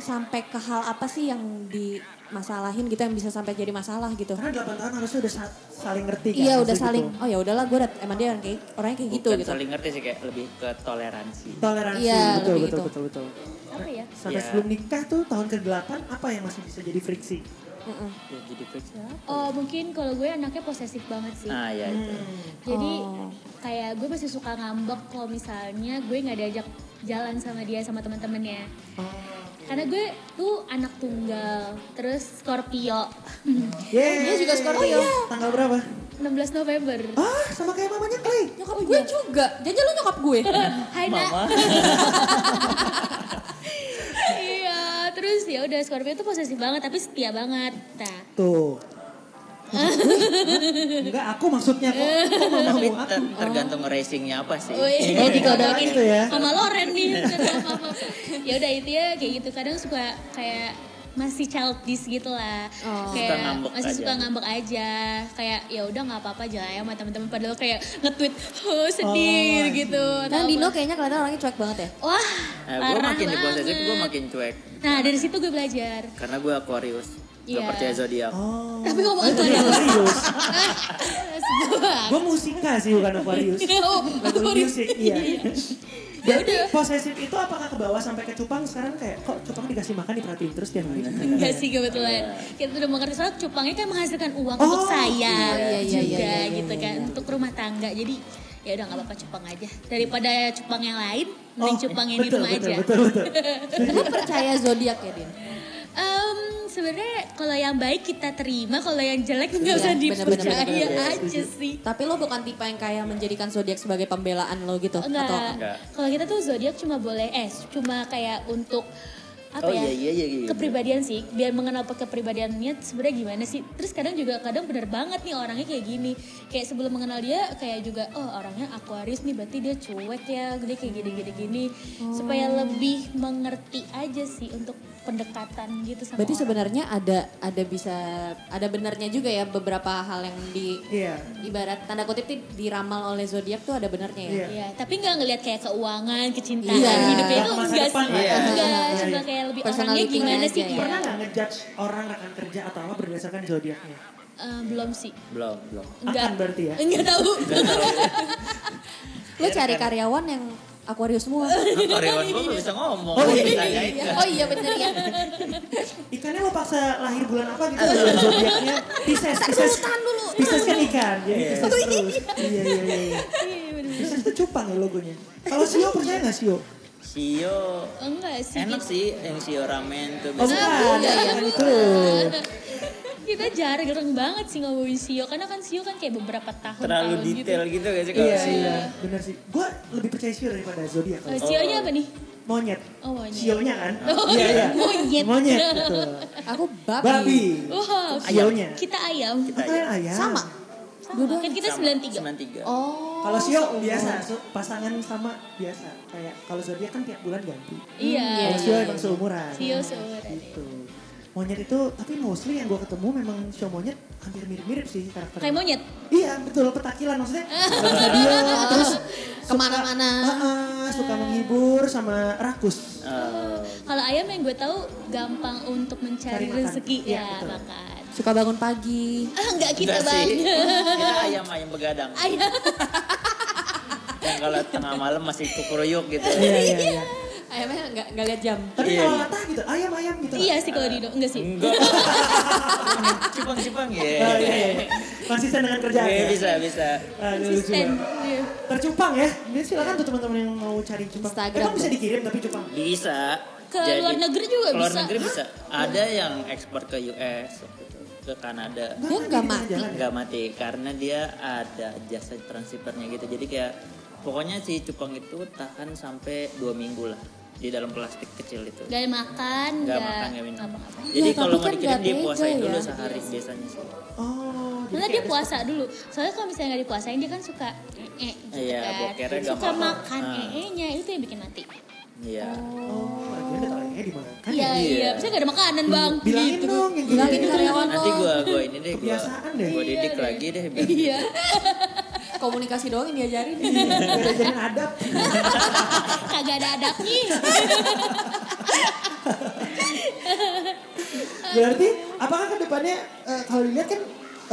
sampai ke hal apa sih yang dimasalahin gitu yang bisa sampai jadi masalah gitu.
Karena 8 tahun harusnya udah sa- saling ngerti kan.
Iya
harusnya
udah saling.
gitu.
Oh ya udahlah gue dat- emang dia orang kayak orangnya kayak gitu
bukan
gitu.
saling ngerti sih kayak lebih ke toleransi.
Toleransi
Iya,
betul, betul,
lebih gitu.
betul betul
Apa ya?
Sampai
Iya.
sebelum nikah tuh tahun ke-8 apa yang masih bisa jadi friksi?
Mm-mm.
Ya, jadi periksa.
Oh mungkin kalau gue anaknya posesif banget sih.
Nah, ya itu.
Hmm.
Jadi
Oh.
kayak gue masih suka ngambek kalau misalnya gue nggak diajak jalan sama dia sama teman-temannya.
Oh, oke.
Karena gue tuh anak tunggal, terus Scorpio.
Yeay.
Dia juga
Oh, iya.
Scorpio.
Tanggal berapa?
16 November.
Ah, sama kayak mamanya Clay.
Nyokap gue juga. Jangan lu nyokap gue.
Hai nak.
Mama.
iya, terus ya udah Scorpio tuh posesif banget tapi setia banget. Nah,
Tuh. Enggak, aku maksudnya kok. Kok mamamu Hmm. aku?
Ter- tergantung racingnya apa sih.
iya.
Wih,
Eh,
Oh, di Kodawa
ngomongin
itu ya?
Sama Loren nih. ya udah itu ya kayak gitu. Kadang suka kayak masih childish gitu lah.
Oh.
Kayak
Suka ngambek
masih
aja.
suka ngambek aja. Kayak ya udah nggak apa-apa jalan ya sama teman-teman padahal kayak nge-tweet "Oh, sedih
Oh,
gitu.
Kan
atau
Dino
apa.
kayaknya kelihatan orangnya cuek banget ya.
Wah,
Nah, gue
parah
makin
banget.
diposesif, gue makin cuek.
Nah, dari situ gue belajar.
Karena gue Aquarius. Gak
Iya.
percaya zodiak.
Oh.
Tapi ngomong Aquarius.
Aquarius.
Sebuah.
Gue musika sih bukan Aquarius.
Oh,
Lagu
Aquarius. Ya
musik, iya. Berarti posesif itu apakah ke bawah sampai ke cupang sekarang kayak kok cupang dikasih makan diperhatiin terus tiap hari?
Enggak sih kebetulan. Kita udah mengerti soal cupangnya kan menghasilkan uang
Oh,
untuk saya
iya, iya,
juga
iya, iya, iya,
gitu kan untuk rumah tangga. Jadi ya udah nggak apa-apa cupang aja. Daripada cupang yang lain,
Oh,
mending cupang yang di
Oh, betul,
rumah
betul,
aja.
Betul, betul,
Lu percaya zodiak ya, Din?
Em, sebenarnya kalau yang baik kita terima, kalau yang jelek nggak
Iya,
usah
bener, bener,
dipercaya
bener, bener.
aja sih.
Tapi lo bukan tipe yang kayak menjadikan zodiak sebagai pembelaan lo gitu atau
Enggak.
Enggak.
Kalau kita tuh zodiak cuma boleh eh cuma kayak untuk apa
Oh, iya,
ya?
iya, iya, iya.
kepribadian sih, biar mengenal pe- kepribadiannya sebenarnya gimana sih. Terus kadang juga kadang bener banget nih orangnya kayak gini. Kayak sebelum mengenal dia kayak juga oh orangnya Aquarius nih berarti dia cuek ya, dia kayak gini-gini gini. Supaya
Oh.
lebih mengerti aja sih untuk pendekatan gitu sama
Berarti
orang.
sebenarnya ada ada bisa ada benarnya juga ya beberapa hal yang di
Iya.
ibarat tanda kutip di- diramal oleh zodiak tuh ada benarnya ya.
Iya.
Iya, tapi nggak ngelihat kayak keuangan, kecintaan,
Iya.
hidupnya itu
Masa
enggak
depan
sih.
lah ya.
Enggak,
Iya, iya.
cuma kayak lebih orangnya
Personality-nya
gimana sih.
aja ya.
iya.
Pernah nggak ngejudge orang rekan kerja atau apa berdasarkan zodiaknya?
Eh, belum sih.
Belum, belum.
Akan berarti ya?
Enggak tahu.
Lo cari karyawan yang Aquarius semua.
Aquarius gue gak bisa ngomong.
Oh,
Gua
iya,
ditanyain nggak?
oh iya bener ya.
Ikannya lo paksa lahir bulan apa gitu bulan zodiaknya? Pisces, Pisces.
Tahan dulu.
Pisces kan ikan, jadi Pisces terus. Iya, iya, iya, iya. Pisces tuh cupang ya logonya. Kalau Sio percaya nggak Sio?
Sio.
Enggak sih.
Enak sih yang Sio ramen tuh.
Oh
biasa.
bukan, bukan itu.
Kan Kita jarang banget sih ngomongin Sio karena kan Sio kan kayak beberapa tahun
Terlalu
tahun
detail
gitu.
gitu gak sih kalau
Iya,
Sio?
iya. Benar sih. Gue lebih percaya Sio daripada zodiak.
Eh, Sionya apa nih?
Monyet.
Oh, monyet.
Sionya kan?
Oh,
Iya, iya.
Monyet.
Monyet, betul.
Aku babi.
Babi.
Wow.
Sionya.
Kita ayam.
Oh, kalian ayam.
Sama.
Sama. Kan kita
93.
93.
Oh.
Kalau Sio biasa, su- pasangan sama biasa. Kayak kalau zodiak kan tiap bulan ganti. Kalau
Iya.
Sio emang seumuran.
Sio seumuran.
Gitu. Monyet itu, tapi mostly yang gue ketemu memang Sio monyet hampir mirip-mirip sih karakternya.
Kayak monyet.
Iya betul petakilan maksudnya nggak bisa diem terus suka-
Kemana-mana.
Ah, ah, suka
Iya.
menghibur sama rakus.
Eh,
Kalau ayam yang gue tahu gampang untuk mencari
Cari makan.
rezeki
Iya,
ya,
betul.
makan.
Suka bangun pagi.
Ah, enggak kita
enggak sih.
banget.
Kita ayam ayam begadang.
Ayam.
Yang kalau tengah malam masih kukuruyuk gitu.
Iya iya iya.
Ayamnya nggak nggak lihat jam.
Tapi
Iya,
kalau
iya.
latah gitu ayam ayam gitu.
Iya sih kalau Dino, enggak sih.
Enggak. cipang cipang ya.
Ah, iya, iya, iya. Konsisten dengan kerjaan.
Iya,
ya?
bisa bisa.
Aduh, lucu
Konsisten.
banget.
Iya.
Tercupang ya. Ini silakan tuh teman-teman yang mau cari cupang.
Instagram.
Emang bisa dikirim tapi cupang.
Bisa.
Ke luar negeri juga
ke luar
bisa.
negeri bisa. Ada yang ekspor ke US, waktu itu, ke Kanada.
Dia nggak
di tengah
mati.
jalan ya?
Nggak mati karena dia ada jasa transipernya gitu. Jadi kayak pokoknya si cupang itu tahan sampai dua minggu lah di dalam plastik kecil itu.
Gak makan,
Nggak
gak,
makan, nggak minum.
ya, apa-apa.
Jadi
Ya, tapi
kalau mau
kan
dikirim
nggak
dia puasain
tega
dulu
ya.
sehari biasanya sih.
Oh. jadi
Karena
kayak
dia
ada-
puasa dulu. Soalnya kalau misalnya gak dipuasain dia kan suka ee gitu
Iya,
kan.
bokernya nggak
suka
mau.
makan
Ah.
ee-nya itu yang bikin mati.
Iya.
Oh, lagian ada tangannya dimakan.
Iya,
Iya.
iya. Bisa gak ada makanan bang.
Kan Bilangin
Gitu.
dong yang gitu.
Bilangin karyawan
Nanti
lo.
gua gua ini deh gua
Kebiasaan deh.
gua didik
Iya deh.
lagi deh biar
Iya.
Komunikasi doang yang diajarin.
Iya. Gak ada adab.
Ah, Kagak ada adabnya.
Berarti apakah kedepannya eh, kalau dilihat kan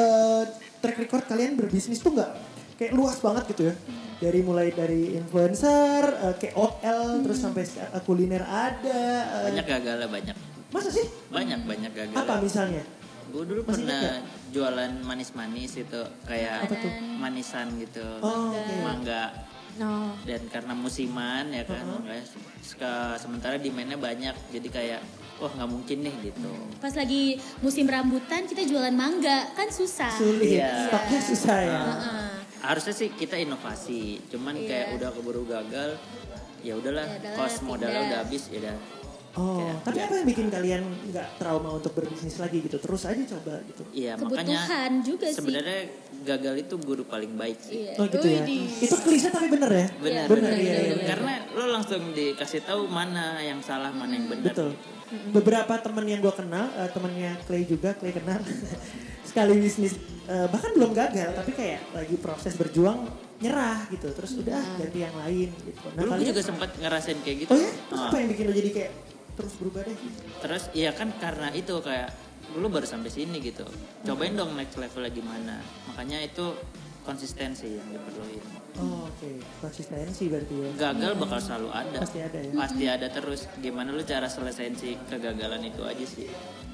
eh, track record kalian berbisnis tuh nggak kayak luas banget gitu ya? Dari mulai dari influencer, eh, KOL, terus sampai eh, kuliner ada. eh,
banyak gagalnya banyak.
Masa sih?
Banyak banyak gagal.
Apa misalnya?
Gue dulu
Masih
pernah
ingat
jualan manis-manis itu kayak
Apa tuh?
manisan gitu,
Oh, oke.
mangga.
Oh.
dan karena musiman ya kan makanya se- sementara demandnya banyak jadi kayak wah nggak mungkin nih gitu
Pas lagi musim rambutan kita jualan mangga kan susah. Ah,
Sulit,
Iya.
stoknya susah ya.
Heeh.
harusnya sih kita inovasi cuman
Iya.
kayak udah keburu gagal ya udahlah
Ya udahlah,
cost modalnya
pindah.
udah habis ya udah
Oh,
Kayak-
tapi apa yang bikin kalian nggak trauma untuk berbisnis lagi gitu? Terus aja coba gitu.
iya makanya
Kebutuhan juga sih.
sebenarnya gagal itu guru paling baik sih
Iya.
Oh gitu ya.
Widih.
Itu klise tapi bener ya.
benar
Iya,
benar,
benar
iya, iya,
gitu.
iya.
karena lo langsung dikasih tahu mana yang salah mana yang benar
Betul. Beberapa temen yang gue kenal, eh, temennya Clay juga, Clay kenal. Sekali bisnis, eh, bahkan belum gagal, tapi kayak lagi proses berjuang, nyerah gitu. Terus udah ganti yang lain gitu.
dulu gue
kalian-
juga sempat ngerasain kayak gitu
Oh ya? Terus
Ah.
apa yang bikin lo jadi kayak terus berubah deh?
terus iya kan karena itu kayak lu baru sampai sini gitu cobain dong next levelnya gimana makanya itu konsistensi yang diperluin
Oh, Oke, konsistensi berarti ya.
gagal bakal selalu ada
Pasti ada ya.
pasti ada terus gimana lu cara selesaiin si kegagalan itu aja sih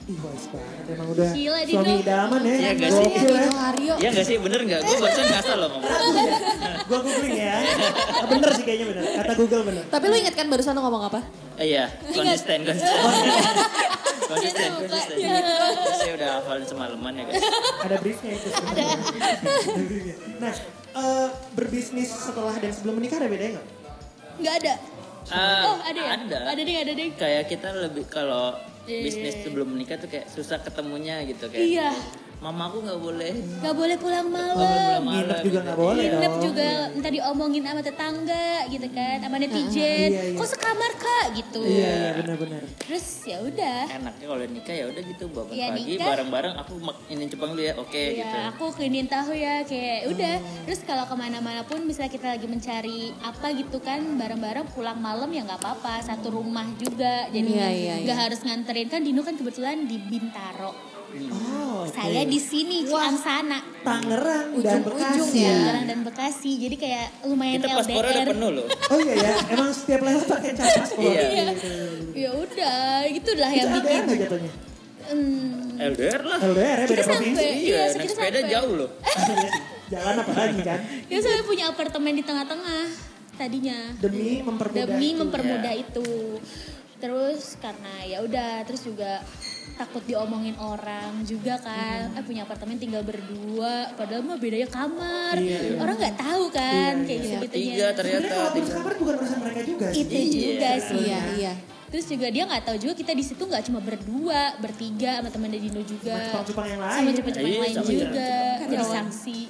Ih, wise banget. Emang udah
Gila, Dino.
suami idaman ya.
Iya, gak sih?
Gokil ya.
Hario.
Iya gak sih bener gak gue barusan ngasal loh ngomong Eh,
Gue googling ya. Ah, Bener sih kayaknya bener. Kata Google bener.
Tapi lu inget kan barusan lu ngomong apa?
Eh, iya konsisten konsisten konsisten konsisten saya udah hafalin semalaman ya guys
Ada briefnya itu. Ada. briefnya. nah, eh, berbisnis setelah dan sebelum menikah ada bedanya nggak?
Nggak ada.
Ah,
oh ada ya?
ada.
Ada deh, ada deh.
kayak kita lebih kalau
Iya.
bisnis sebelum menikah tuh kayak susah ketemunya gitu kayak
Iya.
mama aku nggak boleh
Gak boleh pulang
Pulang
malam.
Nginep
malam
juga
gitu.
nggak boleh
Nginep
dong.
juga ntar diomongin sama tetangga gitu kan, sama netizen.
Iya, iya.
Kok sekamar kak gitu.
Iya, iya benar-benar.
Terus ya udah.
enaknya kalau nikah ya udah gitu bangun
Iya,
pagi
nikah.
bareng-bareng aku mak- ini cepeng dulu ya oke gitu
Ya, aku keinin tahu ya kayak udah. Terus kalau kemana-mana pun misalnya kita lagi mencari apa gitu kan bareng-bareng pulang malam ya nggak apa-apa satu rumah juga. Jadi
Iya, iya,
nggak
iya.
harus nganterin kan Dino kan kebetulan di Bintaro.
Oh, oke.
Saya di sini Ciangsana.
Tangerang dan Bekasi.
Ujung-ujung ya.
Tangerang dan Bekasi. Jadi kayak lumayan
kita paspor udah
LDR.
penuh loh
Oh iya ya, emang setiap lewat pakai cap paspor.
Iya.
Ya udah, gitulah
Itu
yang bikin.
LDR nggak jatuhnya?
Hmm,
LDR lah
LDR ya beda
Kita
provinsi.
sampai-
iya
Iya,
naik
kita
sepeda
sampai. Eh, iya.
jauh loh
iya. Jalan apa lagi kan?
ya saya punya apartemen di tengah-tengah tadinya.
Demi mempermudah.
demi
itu. ya.
mempermudah itu terus karena ya udah terus juga takut diomongin orang juga kan
Iya.
eh punya apartemen tinggal berdua padahal mah bedanya kamar
Iya, iya.
orang nggak tahu kan kayak gitu gitunya
tiga
Sebenarnya
ternyata
kalau ngurus
tiga.
kamar bukan urusan mereka juga sih.
itu
Iya,
juga sih
Iya, iya.
terus juga dia nggak tahu juga kita di situ nggak cuma berdua bertiga sama teman Dino juga
Sama Jepang-Jepang yang lain.
sama Jepang-Jepang
Iya,
lain
sama
juga jadi
Karyawan.
sanksi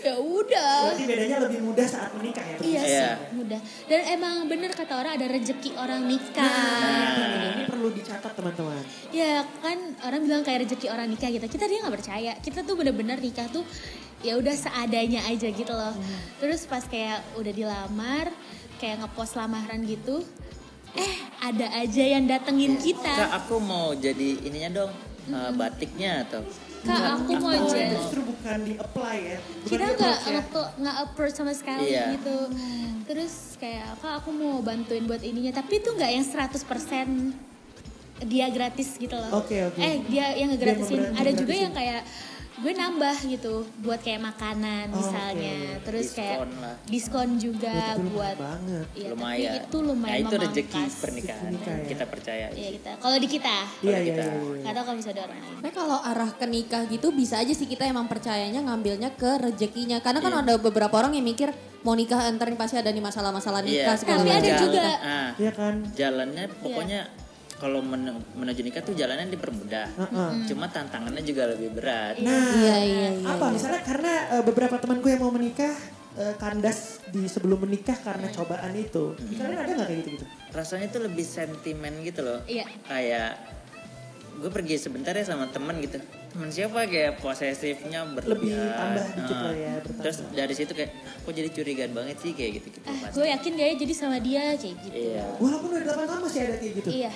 ya udah
Berarti bedanya lebih mudah saat menikah ya.
Iya
Iya.
sih, mudah. Dan emang bener kata orang ada rezeki orang nikah.
Nah, Ini perlu dicatat teman-teman.
Ya kan orang bilang kayak rezeki orang nikah gitu. Kita dia nggak percaya. Kita tuh bener-bener nikah tuh ya udah seadanya aja gitu loh. Terus pas kayak udah dilamar, kayak ngepost lamaran gitu, eh ada aja yang datengin
kak
kita.
aku mau jadi ininya dong eh, batiknya atau
Iya, Kak aku mau
Oh,
aja.
justru bukan di apply ya. Bukan
kita
di
nggak
approach ya.
nge- nggak approach sama sekali
Iya.
gitu
Hmm.
terus kayak kak aku mau bantuin buat ininya tapi itu nggak yang 100% dia gratis gitu loh
Oke, oke.
eh dia yang ngegratisin
Dia mau
ada juga
gratisin.
yang kayak gue nambah gitu buat kayak makanan
Oh,
misalnya
oke.
terus kayak
Diskon lah.
diskon juga
Ya, tapi lumayan
buat
banget.
Iya, tapi
lumayan
itu lumayan
nah itu rezeki
memangkas.
pernikahan
Nikah ya.
yang kita percaya
Iya, kita kalau di kita
Iya,
Kalau
iya,
kita-
iya. iya.
nggak tahu kalau bisa ada orang lain
Tapi kalau arah ke nikah gitu bisa aja sih kita emang percayanya ngambilnya ke rezekinya. Karena
Iya.
kan ada beberapa orang yang mikir mau nikah entar pasti ada nih masalah-masalah nikah
Iya.
segala
Tapi ada
macam.
juga-
Ah,
Iya kan?
jalannya pokoknya kalau men- menuju nikah tuh jalannya dipermudah
Heeh.
Hmm.
cuma tantangannya juga lebih berat
Nah,
Iya, iya, iya.
apa misalnya karena eh, beberapa temanku yang mau menikah eh, kandas di sebelum menikah karena
Iya.
cobaan itu. Di Kalian ada nggak kayak gitu-gitu?
rasanya tuh lebih sentimen gitu loh
Iya.
kayak gue pergi sebentar ya sama temen gitu temen siapa kayak posesifnya berlebihan
tambah dikit
Heeh.
lah ya, bertambah.
terus dari situ kayak kok jadi curigaan banget sih kayak gitu gitu
ah gue yakin kayaknya jadi sama dia kayak gitu
iya
Walaupun udah 8 tahun masih ada kayak gitu.
iya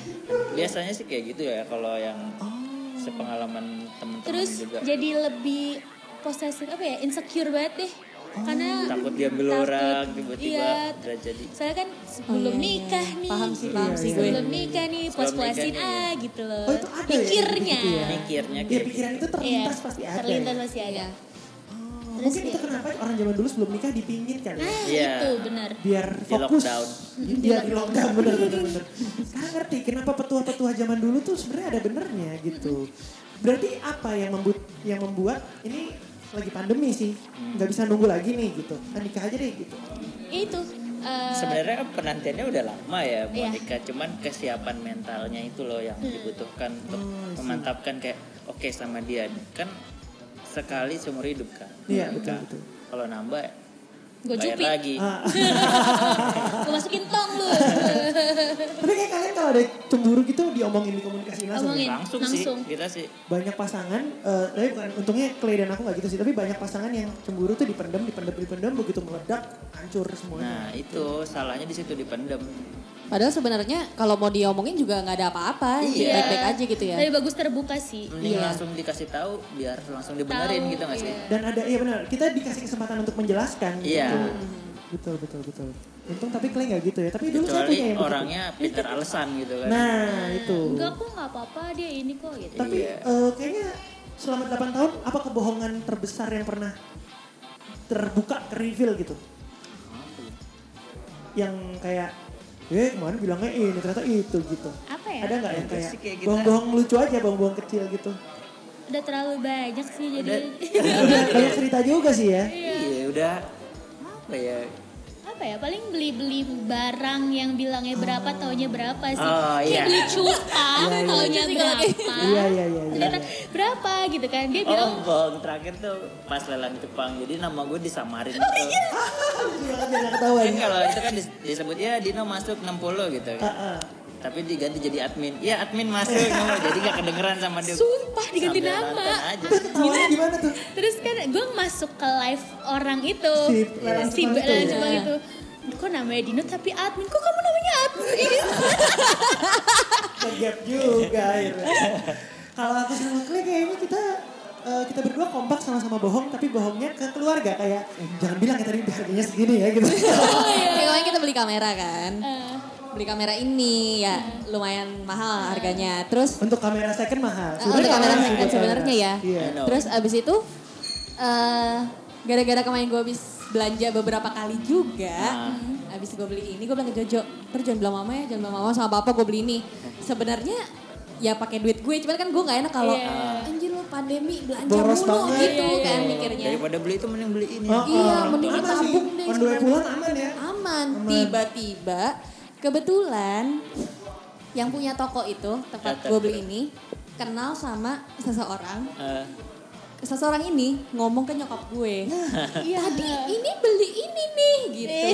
biasanya sih kayak gitu ya kalau yang
Oh.
sepengalaman temen-temen
terus
juga
jadi lebih posesif apa ya insecure banget deh karena
Oh. takut diambil
takut.
orang tiba-tiba
iya.
udah jadi
soalnya kan
Oh,
sebelum
iya, iya.
nikah nih
Paham sih, paham
sih gue.
sebelum nikah nih
Sebelum
puas puasin
nikah nih. iya.
ah gitu loh
Oh, itu ada ya,
pikirnya
gitu ya?
mikirnya
Ya
kayak
pikiran itu terlintas pasti ada.
Iya, terlintas
ya?
pasti ada
Iya.
Oh,
Terus
Mungkin itu
ya-
kenapa orang zaman dulu sebelum nikah dipingin kan ya?
Nah
Iya.
itu benar.
Biar
Di
fokus.
lockdown.
Iya di lockdown bener bener bener. Sekarang ngerti kenapa petua-petua zaman dulu tuh sebenarnya ada benernya gitu. Berarti apa yang membuat yang membuat ini lagi pandemi sih
Hmm.
nggak bisa nunggu lagi nih gitu. Ah, nikah aja deh gitu.
Itu eh,
Sebenarnya kan penantiannya udah lama ya
Iya. Hmm.
Monica, cuman kesiapan mentalnya itu loh yang dibutuhkan untuk
Hmm,
memantapkan kayak oke sama dia kan sekali seumur hidup kan.
Iya,
Monica.
betul, betul.
Kalau nambah
Gua
bayar
jupit.
lagi.
Ah,
gue masukin tong lu.
tapi kayak kalian kalau ada cemburu gitu diomongin dikomunikasiin langsung. ya?
Omongin.
Langsung,
Iya, Langsung.
sih kita sih
banyak pasangan eh tapi bukan untungnya Clay dan aku nggak gitu sih tapi banyak pasangan yang cemburu tuh dipendam dipendam dipendam begitu meledak hancur semuanya
Nah itu salahnya di situ dipendem.
Padahal sebenarnya kalau mau diomongin juga nggak ada apa-apa,
Iya.
baik-baik aja gitu ya.
Tapi bagus terbuka sih.
Mending
Iya.
langsung dikasih tahu biar langsung dibenerin
Tahu,
gitu nggak sih?
iya.
dan ada iya benar kita dikasih kesempatan untuk menjelaskan
Iya.
gitu. betul betul betul untung tapi Clay nggak gitu ya tapi dulu saya
Kecuali
punya yang begitu.
orangnya pintar alasan gitu kan.
nah itu
Enggak kok nggak apa-apa dia ini kok gitu.
tapi
Iya.
eh, kayaknya selama 8 tahun apa kebohongan terbesar yang pernah terbuka ke reveal gitu yang kayak eh kemarin bilangnya ini ternyata itu gitu
Apa ya?
ada nggak yang
Terus
kayak
sih kayak gitu. kita-
bohong-bohong lucu aja bohong-bohong kecil gitu
Udah terlalu banyak sih jadi
banyak cerita juga sih ya
Iya udah apa
Iya.
ya?
apa ya paling beli-beli barang yang bilangnya berapa taunya berapa sih.
Oh,
Kayak
iya.
beli cupa taunya berapa.
iya iya iya iya
Ternyata berapa gitu kan. Dia
Oh,
bilang
bohong terakhir tuh pas lelang Jepang. Jadi nama gue disamarin.
Oh,
gitu.
iya.
Biar nggak ketahuan
Kan kalau itu kan dis- disebut ya Dino masuk 60 gitu
Ah,
kan.
ah.
Tapi diganti jadi admin. Ya admin masuk. nama. Jadi gak kedengeran sama dia.
Sumpah, diganti
Sambil
nama.
nonton aja.
Ketahuannya gimana tuh
Terus kan gue masuk ke live orang itu.
Si Lelang
Si
Jepang itu.
Lelang Jepang itu. Kok namanya Dino tapi admin? Kok kamu namanya admin?
Iya.
Kegap juga akhirnya. Kalau aku sama Clay kayaknya kita eh, kita berdua kompak sama-sama bohong tapi bohongnya ke keluarga kayak jangan bilang ya tadi harganya segini ya gitu.
Kayak kemarin kita beli kamera kan.
Eh,
Beli kamera ini ya lumayan mahal harganya. Terus
Untuk kamera second mahal.
Eh, untuk kamera
mahal
second
sih
sebenarnya ya.
Iya.
Iya.
Terus abis itu eh, gara-gara kemarin gue habis belanja beberapa kali juga. Abis gue beli ini gue bilang ke Jojo, terus jangan bilang mama ya, jangan bilang mama sama papa gue beli ini. Sebenarnya ya pakai duit gue, cuman kan gue nggak enak kalau
Iya.
anjir lo pandemi belanja
Boros
mulu
banget.
gitu
Iya,
kan
iya,
mikirnya.
Daripada beli itu mending beli ini.
Oh, oh.
Iya, mending
Aman sih.
ditabung deh.
On the way
sebenarnya.
pulang aman ya.
Aman. Tiba-tiba kebetulan yang punya toko itu tempat
Catat
gue beli
dulu.
ini kenal sama seseorang.
Eh,
Seseorang ini ngomong ke nyokap gue.
Iya.
Tadi ini beli ini nih gitu.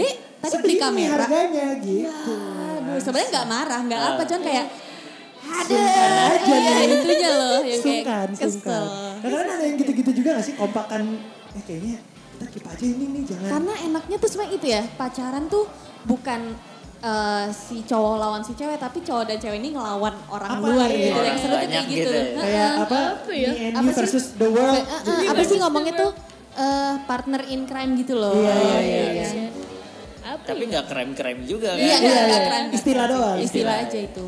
Dek, tadi beli
Segini
kamera. Iya.
harganya gitu.
Aduh, sebenarnya nggak marah, nggak apa, cuman kayak ada
Sungkan
Eh,
aja nih.
itunya loh yang kayak
sungkan,
kesel.
sungkan. Kadang-kadang ada yang gitu-gitu juga gak sih kompakan eh kayaknya kita keep aja ini nih jangan.
Karena enaknya tuh sebenarnya itu ya, pacaran tuh bukan eh, si cowok lawan si cewek, tapi cowok dan cewek ini ngelawan orang
Apa?
luar
Iya.
gitu. Yang seru tuh kayak
Banyak
gitu.
gitu ya.
Heeh.
kayak apa,
apa ya?
me and
Apa
you
sih?
versus the world.
Kayak, eh, eh, apa sih ngomongnya tuh eh, partner in crime gitu loh.
Iya, iya,
iya.
Apa
tapi
ya?
nggak krem-krem juga kan.
Iya,
Iya,
nggak- nggak
iya.
crime, nggak
Istilah
crime.
doang.
Istilah
Istilah,
aja
iya.
itu.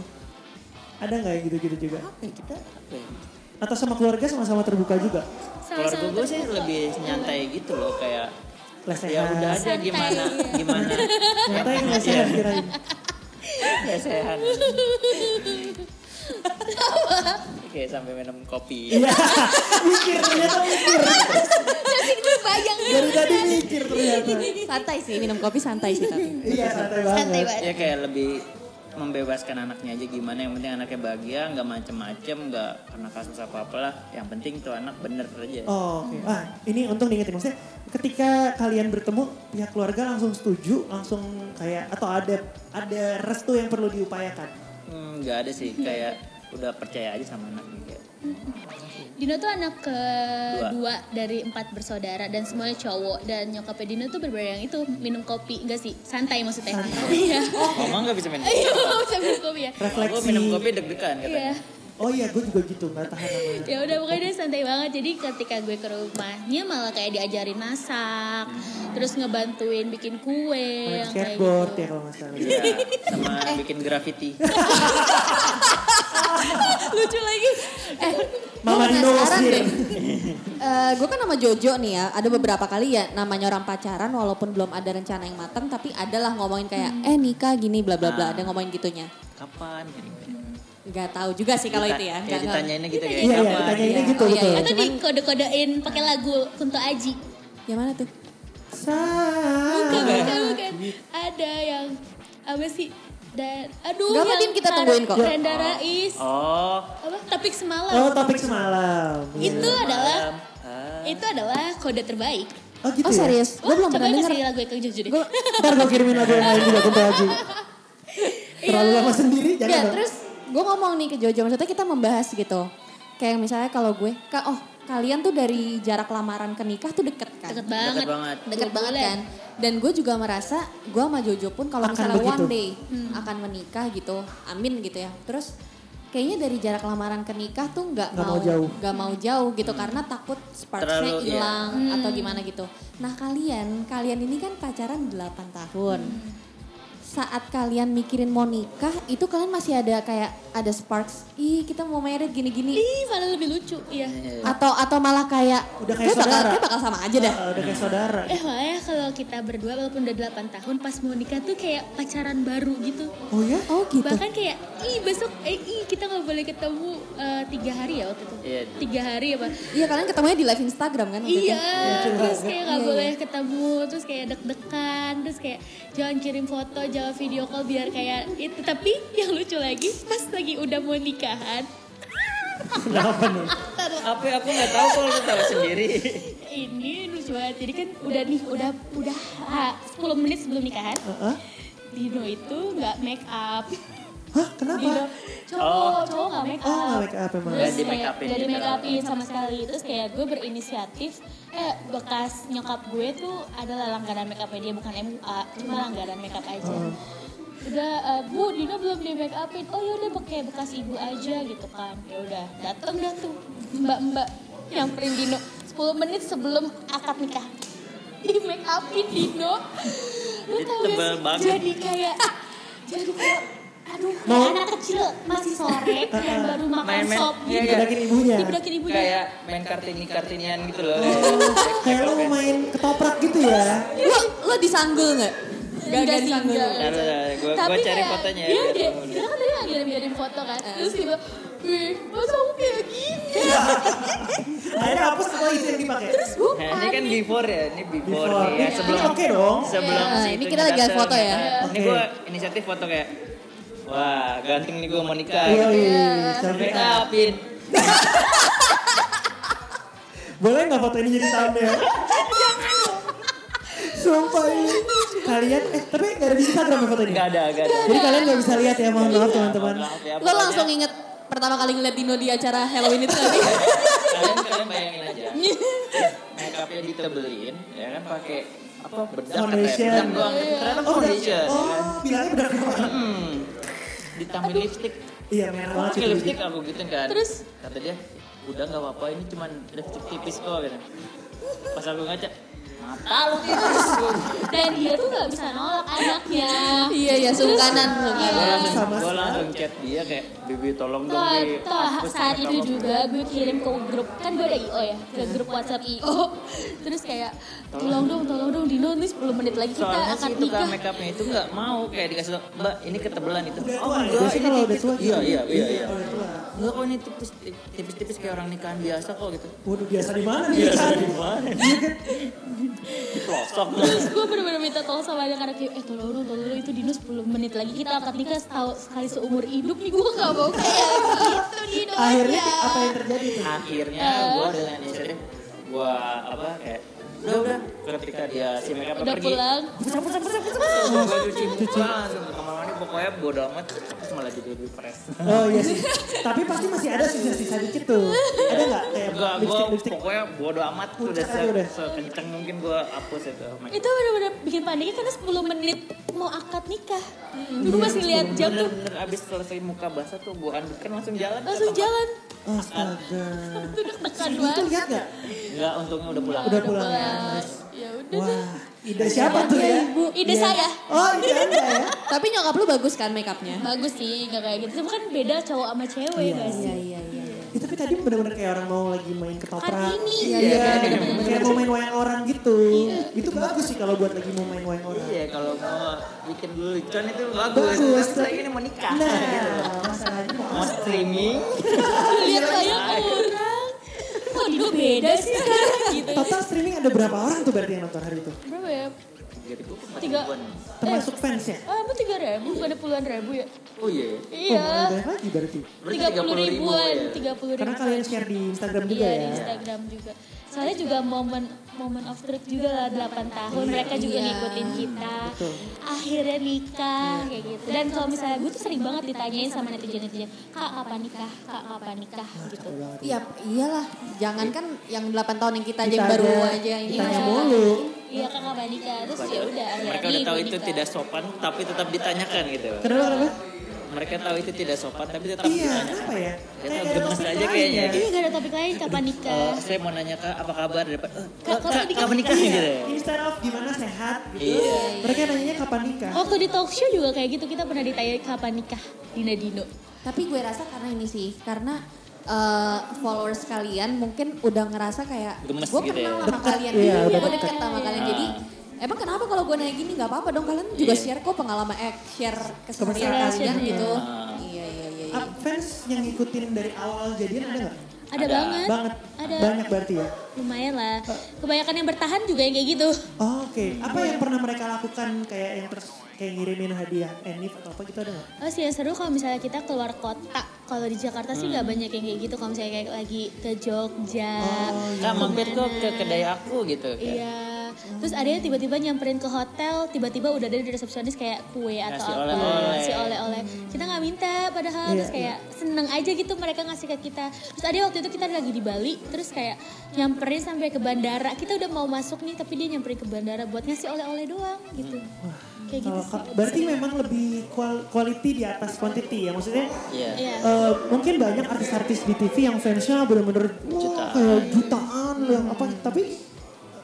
Ada nggak yang gitu-gitu juga?
Apa ya, kita apa ya?
Atau sama keluarga sama-sama terbuka juga?
keluarga
Sama-sama
gue sih
terbuka.
lebih nyantai gitu loh kayak
Lesehan.
ya udah aja
Santai,
gimana
iya.
gimana
Ternyata yang lesehan kirain.
lesehan oke sampai minum kopi
Iya, mikir ternyata mikir.
Bayang.
Dari tadi mikir ternyata.
Iya, Santai sih, minum kopi santai sih tapi.
Iya, santai banget.
Santai banget.
ya kayak lebih membebaskan anaknya aja gimana yang penting anaknya bahagia nggak macem-macem nggak karena kasus apa apalah yang penting tuh anak bener aja
Oh, oke. Ah, ini untung diingetin maksudnya ketika kalian bertemu pihak keluarga langsung setuju, langsung kayak atau ada ada restu yang perlu diupayakan.
Hmm, nggak ada sih kayak udah percaya aja sama anaknya kayak
Dino tuh anak kedua dari empat bersaudara dan semuanya cowok dan nyokapnya Dino tuh berbeda yang itu minum kopi enggak sih santai maksudnya iya
mama nggak bisa minum kopi
iya bisa minum kopi ya
gue
Refleksi.
minum kopi deg-degan
iya
katanya
Oh iya, gue juga gitu, nggak tahan namanya.
ya udah pokoknya dia santai banget jadi ketika gue ke rumahnya malah kayak diajarin masak terus ngebantuin bikin kue
Main
yang iya, kayak
skateboard ya
gitu
kalau nggak salah.
Iya, sama bikin graffiti
Lucu lagi. Eh,
Mama
Gua
Rino was
penasaran
here.
deh. Eh, gue kan sama Jojo nih ya, ada beberapa kali ya namanya orang pacaran walaupun belum ada rencana yang matang tapi adalah ngomongin kayak
Hmm.
eh nikah gini bla bla
Ah.
bla, ada ngomongin gitunya.
kapan gitu. gini-gini.
Nggak tahu juga sih kalau itu ya. nggak-
Kayak
nggak-
ditanyainnya gitu kayak
Iya, iya,
kapan.
ditanyainnya
Iya.
gitu,
Oh, iya,
betul.
iya.
Atau dikode-kodein pakai lagu Kunto Aji.
Yang Ya, mana tuh?
Bukan,
Sa.
bukan, bukan. Ada yang apa sih? Dan aduh,
Gak apa,
yang
Din, kita
Tar-
tungguin kok.
Renda Rais.
Oh,
Apa? Topik semalam.
Oh, topik semalam. Iya.
Gitu.
Itu adalah
malam. Ah.
itu adalah kode terbaik.
Oh, gitu
oh
ya?
serius? Gue
Wah,
belum
coba
pernah denger.
kasih lagu Eka Jojo deh.
Gua-
Ntar gue kirimin lagu yang lain juga Kunto Haji. Terlalu lama sendiri, jangan
Nggak,
Iya.
dong.
Iya. Ya, terus gue ngomong nih ke Jojo, maksudnya kita membahas gitu. Kayak misalnya kalau gue, ka- oh kalian tuh dari jarak lamaran ke nikah tuh deket kan?
Deket banget.
banget.
deket
Dua
banget
bulan.
kan dan gue juga merasa gue sama Jojo pun kalau
Akan
misalnya
begitu.
one day
Hmm.
akan menikah gitu amin gitu ya terus kayaknya dari jarak lamaran ke nikah tuh nggak
Nggak mau jauh.
nggak mau jauh gitu karena takut sparksnya
Hmm. Terlalu, iya.
hilang atau gimana gitu nah kalian kalian ini kan pacaran 8 tahun
Hmm.
saat kalian mikirin mau nikah itu kalian masih ada kayak ada sparks ih kita mau married gini-gini
Ih, malah lebih lucu. Iya.
atau atau malah kayak
Udah kayak
"Gue bakal,
saudara."
gue bakal sama aja dah
Eh, udah kayak saudara.
Iya.
Eh makanya kalau kita berdua walaupun udah 8 tahun pas mau nikah tuh kayak pacaran baru gitu.
Oh ya?
oh gitu
Bahkan kayak ih besok eh ih kita nggak boleh ketemu eh, tiga hari ya waktu itu.
Iya.
Tiga hari ya pak.
Iya kalian ketemunya di live Instagram kan? waktu
Iya,
itu?
terus kayak nggak
Iya,
boleh ketemu, terus kayak deg-degan, terus kayak jangan kirim foto, jangan video call biar kayak itu. Tapi yang lucu lagi pas lagi udah mau nikahan,
Kenapa nih?
Apa ya, aku nggak tahu kalau lu tahu sendiri.
ini lucu banget. Jadi kan udah nih, udah udah ah, 10 menit sebelum nikahan,
Heeh.
Dino itu nggak make up.
Hah, kenapa?
Dino cowok, cowok nggak make
Oh, nggak
up.
make up emang.
Terus
Nggak di
kayak
make upin
nggak di
gitu.
make upin sama sekali Terus kayak gue berinisiatif Eh bekas nyokap gue tuh adalah langganan make upnya dia Bukan MUA, cuma langganan make up aja
Oh.
Udah, eh, bu Dino belum di make upin Oh yaudah pakai bekas ibu aja gitu kan ya udah dateng dah tuh Mbak-mbak nyamperin Dino 10 menit sebelum akad nikah Di make upin Dino Lu
Jadi
tau gak
tebel
sih?
banget.
Jadi kayak ah, Jadi kayak Aduh, kayak
Mau-
anak kecil masih sore, kayak baru makan
Main-main.
sop
Iya,
gitu
iya.
Dibedakin ibunya.
dibedakin ibunya
Kayak main kartini kartinian gitu loh.
Oh. Kayak lu main ketoprak gitu ya.
Lo lo disanggul nggak? Gak
Enggak
gak
sih,
disanggul.
enggak.
Ntar, ntar, gua-
Tapi
gua cari
kayak
fotonya ya,
iya,
dia,
biar
dia,
kamu
kita kan tadi ngirim ngirim foto kan terus tiba wih masa aku kayak gini
Akhirnya hapus setelah itu yang dipakai.
gue
Nah, ini kan before ya, ini before,
Before.
nih ya.
Ini
Sebelum
oke dong.
sebelum
Iya.
si
Ini
itunya
kita lagi ada
datang.
foto ya?
Nah, Ini
Oke.
gue inisiatif foto kayak wah, ganteng nih gue mau nikah.
Iya,
gitu.
iya,
Make
iya.
upin.
Boleh nggak foto ini jadi thumbnail? Sumpah ini. Kalian, eh tapi nggak ada di Instagram ya foto ini?
Enggak ada, enggak ada.
Jadi kalian nggak bisa lihat ya, mohon maaf teman-teman.
Maaf ya,
Lo
pokoknya
langsung inget pertama kali ngeliat Dino di acara Halloween itu tadi.
kalian kalian bayangin aja. Make upnya ditebelin, ya kan pakai apa bedak katanya,
Foundation.
bedak doang.
Oh,
Ternyata
udah.
foundation. ya kan.
Oh, bilangnya benar kemarin.
Hmm. Ditambah lipstick.
Iya, merah banget
Pakai
itu.
lipstick aku gitu kan.
Terus?
kata dia, "Udah nggak apa-apa, ini cuman lipstick tipis kok." Gitu. Pas aku ngaca, mata
Iya,
lu gitu." tipis.
dan dia tuh nggak bisa nolak anaknya
iya iya sungkanan
Gue
sungkanan.
langsung,
Sama
gua langsung chat dia kayak, "Bibi tolong dong,
Toh,
Bi.
toh
hapus
saat
make
itu
up aku."
juga gue kirim ke grup kan gue ada IO ya ke grup WhatsApp IO terus kayak tolong dong tolong dong Dino ini 10 menit lagi kita
Soalnya
akan
sih itu kan
nikah
make upnya itu nggak mau kayak dikasih tau, Mbak ini ketebelan itu.
Udah
Oh
tua ya?
enggak,
Biasanya
ini
kalau udah
tipis.
tua
Iya iya iya iya.
Kalau udah tua.
Enggak kok ini tipis tipis-tipis kayak orang nikahan biasa kok gitu.
Waduh, biasa di mana nih? Kan?
Pelosok.
terus gue bener-bener minta tolong sama anak-anak kayak eh tolong dong tolong dong itu Dino 10 menit lagi kita akan nikah setahun sekali seumur hidup nih gue gak mau kayak gitu Dino
Akhirnya
aja.
apa yang terjadi tuh?
Akhirnya
Eh?
gua dengan inisiatif gua apa kayak udah udah ketika dia si make up
udah
pergi.
pulang
Oh,
Gua cuci muka langsung ke kamar mandi pokoknya bodo amat terus malah jadi lebih fresh.
Oh iya sih. Tapi pasti masih ada sisa-sisa dikit tuh. Ada nggak kayak
Enggak, gua
lipstick-lipstick?
pokoknya bodo amat udah
Puncak aja udah.
se- sekenceng mungkin gua hapus itu. make
itu bener-bener bikin paniknya karena 10 menit mau akad nikah
Hmm.
dulu masih lihat
Iya,
jam tuh
bener-bener abis selesai muka basah tuh gue andukkan langsung jalan
langsung jalan
Astaga.
itu deg-degan
Itu
banget
lihat nggak?
enggak untungnya udah pulang
Udah pulang ya.
ya udah
Wah, ide siapa tuh ya?
ibu ide
Iya.
saya
Oh, ide anda ya?
Tapi nyokap lu bagus kan makeupnya?
bagus sih nggak kayak gitu cuma kan beda cowok sama cewek guys
Iya iya iya.
Ya, tapi tadi benar-benar kayak orang mau lagi main ketoprak.
Kan ini.
Iya,
Iya,
kayak mau main wayang orang gitu. Itu bagus sih kalau buat lagi mau main wayang orang.
Iya kalau mau bikin lelucon itu bagus.
Bagus.
Tapi lagi ini mau
Iya.
nikah.
Nah,
gitu.
masalahnya mau
Mau streaming.
Lihat banyak orang. Iya, Kok dulu beda sih sekarang gitu.
Total streaming ada berapa orang tuh berarti yang nonton hari itu?
Berapa ya?
Jadi gue empat
Tiga.
ribuan.
Termasuk fansnya?
Eh, ah, emang tiga ribu, bukan puluhan ribu ya?
Oh iya.
Oh, malah
Iya.
banyak lagi berarti.
Berarti
Tiga puluh
30.000
ribuan,
ya.
tiga puluh ribu.
Karena kalian share di Instagram juga
Iya di
ya.
Instagram juga. Soalnya juga momen momen of truth juga lah 8 tahun mereka juga
Iya.
ngikutin kita. Akhirnya nikah kayak gitu. Dan kalau misalnya gue tuh sering banget ditanyain sama netizen-netizen, "Kak, kapan nikah? Kak, kapan nikah?" gitu.
Iya, iyalah. Jangankan yang 8 tahun yang kita aja
Kita
yang baru
aja,
aja ini.
Tanya
Iya.
mulu.
Iya, Kak, kapan nikah? Terus ya udah akhirnya
Mereka udah
nih,
tahu
gue
itu
nikah.
tidak sopan tapi tetap ditanyakan gitu.
Kenapa kenapa?
Mereka tahu itu tidak sopan tapi tetap
Iya,
ditanyakan.
kenapa ya?
Dia
Kayak gak
tahu
ada
gemes
topik
aja
lain
kayaknya.
ya.
Iya, gak ada topik lain kapan nikah.
Eh, saya mau nanya kak apa kabar dapat eh,
Kak,
kak, kak,
kapan nikah?
kamu nikah gitu
Iya, Instead of gimana sehat gitu.
Iya.
Mereka nanyanya kapan nikah.
Waktu di talk show juga kayak gitu kita pernah ditanya kapan nikah Dina Dino.
Tapi gue rasa karena ini sih, karena eh, followers kalian mungkin udah ngerasa kayak
Gemes
gue
gitu
kenal
ya.
sama kalian,
Iya,
gue
udah
deket sama kalian. Jadi emang kenapa kalau gue nanya gini nggak apa-apa dong kalian juga
Iya.
share kok pengalaman eh share keseharian
Kebesaran.
kalian gitu.
Ah.
Iya iya iya. iya.
Ah, Fans yang ngikutin dari awal jadian ada nggak?
Ada,
Ada.
banget.
Banget.
Ada.
Banyak berarti ya.
Lumayan lah. Kebanyakan yang bertahan juga yang kayak gitu.
Oh, Oke, apa yang pernah mereka lakukan kayak yang terus kayak ngirimin hadiah enif atau apa gitu ada nggak?
Oh sih yang seru kalau misalnya kita keluar kota. Kalau di Jakarta sih
Hmm.
nggak banyak yang kayak gitu. Kalau misalnya kayak lagi ke Jogja.
Oh,
kak mampir kok ke kedai aku gitu kayak
Iya. Terus ada yang tiba-tiba nyamperin ke hotel, tiba-tiba udah ada di resepsionis kayak kue atau
Ngasih
apa,
oleh-oleh.
ngasih oleh-oleh. Kita nggak minta padahal
Iya,
terus kayak seneng aja gitu mereka ngasih ke kita. Terus ada waktu itu kita lagi di Bali, terus kayak nyamperin sampai ke bandara. Kita udah mau masuk nih, tapi dia nyamperin ke bandara buat ngasih oleh-oleh doang gitu. Kayak gitu
Kalau
sih.
ka- berarti memang lebih kual- quality di atas quantity ya maksudnya
iya
Iya.
eh, mungkin banyak artis-artis di TV yang fansnya bener-bener wah,
Jutaan.
kayak jutaan yang apa tapi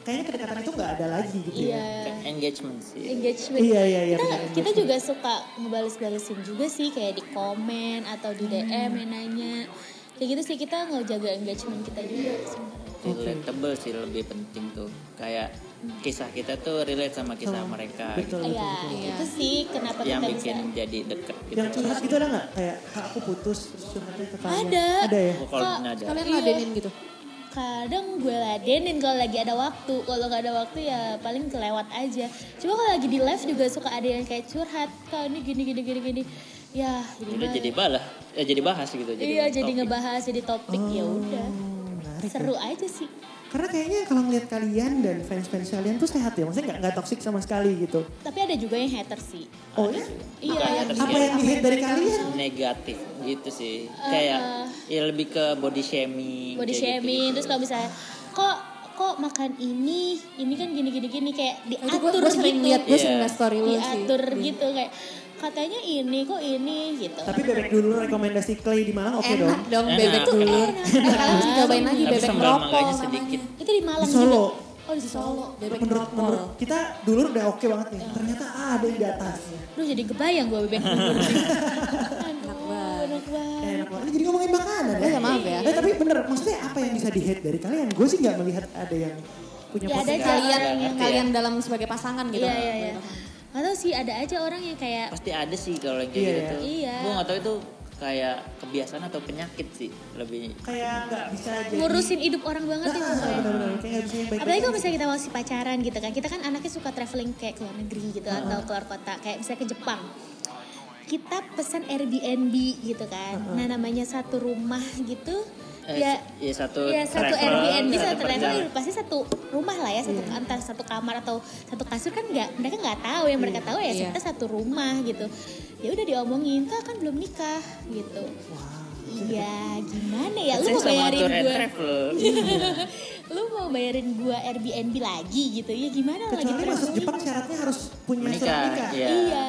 kayaknya kedekatan itu nggak ada lagi gitu
Iya.
ya.
engagement sih
engagement.
Iya, iya, iya,
Kita,
benar,
kita juga suka ngebales-balesin juga sih kayak di komen atau di DM
Hmm.
yang nanya. Kayak gitu sih kita ngejaga engagement kita juga sebenarnya.
relatable sih lebih penting tuh kayak
Hmm.
kisah kita tuh relate sama kisah mereka gitu.
Betul, betul.
Iya, itu sih kenapa
yang
kita
bikin
Oh, bisa. Iya.
jadi deket gitu
Yang curhat gitu ada nggak? Kayak kak aku putus terus curhatnya ke kalian.
Ada.
Ada ya.
Oh, kalau ngajak
Kalian
Iya.
ladenin gitu.
Kadang gue ladenin kalau lagi ada waktu. Kalau nggak ada waktu ya paling kelewat aja. Cuma kalau lagi di live juga suka ada yang kayak curhat. Kak ini gini gini gini gini. Ya,
udah
gimana?
jadi balah eh, jadi bahas gitu jadi
Iya, jadi
topik.
ngebahas jadi topik ya
Oh,
udah.
Hmm, menarik. ya.
Seru aja sih.
Karena kayaknya kalau ngeliat kalian dan fans-fans kalian tuh sehat ya, maksudnya nggak nggak toksik sama sekali gitu.
Tapi ada juga yang hater sih.
Oh ya?
Iya,
Bukan haters
Apa
kayak
yang dilihat dari kalian?
negatif gitu sih kayak ya lebih ke body shaming
Eh, body
kayak
shaming terus kalau misalnya kok kok makan ini ini kan gini gini gini kayak
Itu gue
diatur
gue sering
gitu
lihat gue
Iya.
sering liat story lu sih.
diatur gitu kayak katanya ini kok ini gitu
Tapi bebek dulu rekomendasi Clay di Malang oke dong.
Enak dong
Enak.
bebek dulu. Eh, Kalian mesti cobain lagi
Tapi
bebek
sambal
rokok
mangganya
namanya.
sedikit.
itu di Malang
Di Solo.
juga oh di Solo
Bebek
Menurut menurut
rokok.
kita dulu udah oke banget nih. Ternyata ada yang di atas.
lu jadi kebayang gue bebek dulu aduh enak banget
Enak banget. Ini Jadi ngomongin makanan
Oh,
Eh,
iya,
ya maaf ya.
Eh tapi bener, maksudnya apa yang bisa di hate dari kalian? Gue sih nggak melihat ada yang punya
Ya, ada
posisi.
aja
Kalian
orang yang
kalian dalam sebagai pasangan gitu.
iya iya iya atau sih ada aja orang yang kayak
pasti ada sih kalau yang kayak
Iya,
gitu
ya.
tuh
Iya.
gue nggak tahu itu kayak kebiasaan atau penyakit sih lebih
Kayak nggak bisa jadi.
ngurusin hidup orang banget
Iya,
itu
Ah, bener-bener. Kayak nggak
gitu.
bisa yang baik-baik.
Apalagi kalau misalnya kita masih pacaran gitu kan, kita kan anaknya suka traveling kayak ke luar negeri gitu atau keluar kota, kayak misalnya ke Jepang. Kita pesan Airbnb gitu kan, nah namanya satu rumah gitu,
Eh,
ya
ya satu
ya satu
travel,
Iya,
Airbnb satu travel
perjalanan.
ya pasti satu rumah lah ya, satu antara satu kamar atau satu kasur kan nggak mereka nggak tahu yang mereka tahu ya
Iya.
kita satu rumah gitu. Ya udah diomongin, kak kan belum nikah gitu. Iya, gimana ya? Lu
Saya
mau
sama
bayarin Iya,
tour and
gue?
travel
lu mau bayarin gua Airbnb lagi gitu ya gimana lagi
Kecuali masuk
traveling?
Jepang syaratnya harus punya surat
menikah
nikah.
ya
iya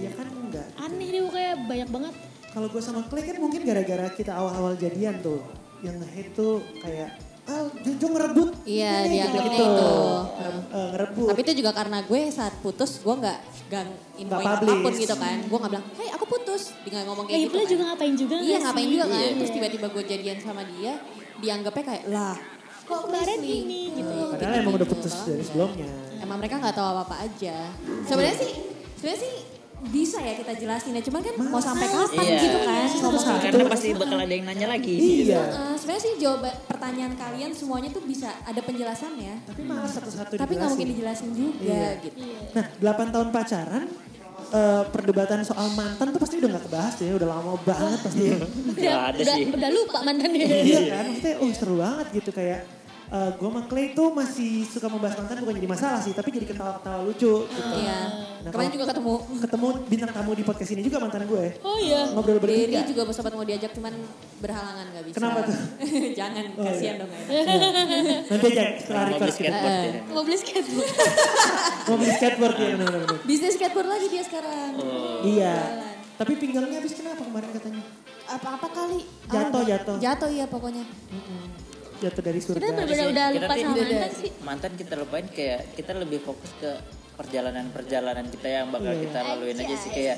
Iya kan enggak.
aneh deh pokoknya banyak banget
Kalau gue sama Clay kan mungkin gara-gara kita awal-awal jadian tuh. yang nge-hate tuh kayak ah Jojo ngerebut
Iya,
ini,
dia
gitu-gitu.
ngerebut itu.
Nge- eh, ngerebut
Tapi itu juga karena gue saat putus gue nggak gang
Nggak
infoin
publish.
apapun gitu kan. Gue nggak bilang, hei aku putus. Dia nggak ngomong kayak
Lagi
gitu
pula
kan.
Eh, juga ngapain juga
Iya
nggak
ngapain
sih?
juga kan.
Iya.
Terus tiba-tiba gue jadian sama dia. Dianggapnya kayak lah
Kok kemarin gini gitu.
padahal emang udah putus
ya.
dari sebelumnya
Emang mereka nggak tahu apa-apa aja. Sebenarnya sih, sebenarnya sih bisa ya kita jelasin ya. Cuman kan mau sampai kapan
Iya.
gitu kan. Mau sampai
Karena pasti bakal ada yang nanya lagi.
iya
Eh, sebenarnya sih jawaban pertanyaan kalian semuanya tuh bisa ada penjelasan ya.
tapi malah satu-satu
Tapi nggak mungkin
dijelasin.
dijelasin juga
Iya.
gitu.
Nah, 8 tahun pacaran, eh, perdebatan soal mantan tuh pasti udah gak kebahas ya, udah lama banget pasti. ya.
Udah,
ada
udah,
sih.
udah lupa mantan dia.
iya kan, maksudnya oh seru banget gitu kayak eh gue sama Clay tuh masih suka membahas mantan bukan jadi masalah sih, tapi jadi ketawa-ketawa lucu gitu.
Iya.
Nah,
Kemarin
kalau-
juga ketemu
Ketemu bintang tamu di podcast ini juga mantan gue.
Oh iya.
Ngobrol
Dery
bertiga.
juga sempat mau diajak cuman berhalangan nggak bisa.
Kenapa tuh?
Jangan,
Oh, iya.
kasihan dong. Ya.
Nanti aja Iya. setelah
Mau beli
record kita.
skateboard
Eh.
ya.
Mau beli skateboard.
Mau beli skateboard ya, bener-bener.
Bisnis skateboard lagi dia sekarang.
Iya. Tapi pinggangnya habis kenapa kemarin katanya?
Apa-apa kali.
Jatuh,
Ah,
jatuh.
Jatuh iya pokoknya.
Jatuh dari surga.
Kita benar-benar udah
Iya Kita
lupa sama
tidak ada.
mantan sih.
Mantan kita lupain kayak kita lebih fokus ke perjalanan-perjalanan kita yang bakal
Iya.
kita laluin aja sih kayak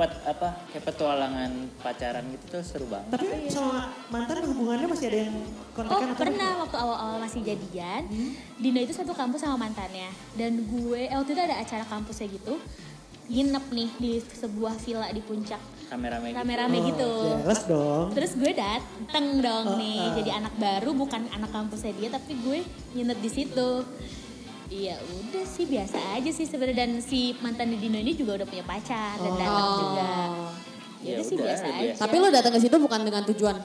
pet, apa kayak petualangan pacaran gitu tuh seru banget.
Tapi sama mantan hubungannya masih ada yang
Oh
kontakan atau
pernah waktu awal-awal masih jadian, Dina itu satu kampus sama mantannya dan gue eh, waktu itu ada acara kampusnya gitu, nginep nih di sebuah villa di puncak
Kameramen gitu.
rame-rame
Oh,
gitu.
Jelas dong.
Terus gue dateng dong nih, jadi anak baru bukan anak kampusnya dia tapi gue nginep di situ. Iya udah sih biasa aja sih sebenarnya dan si mantan di Dino ini juga udah punya pacar dan datang
Oh.
juga. Ya
Ya
udah sih
udah,
biasa
udah
aja.
Tapi lo datang ke situ bukan dengan tujuan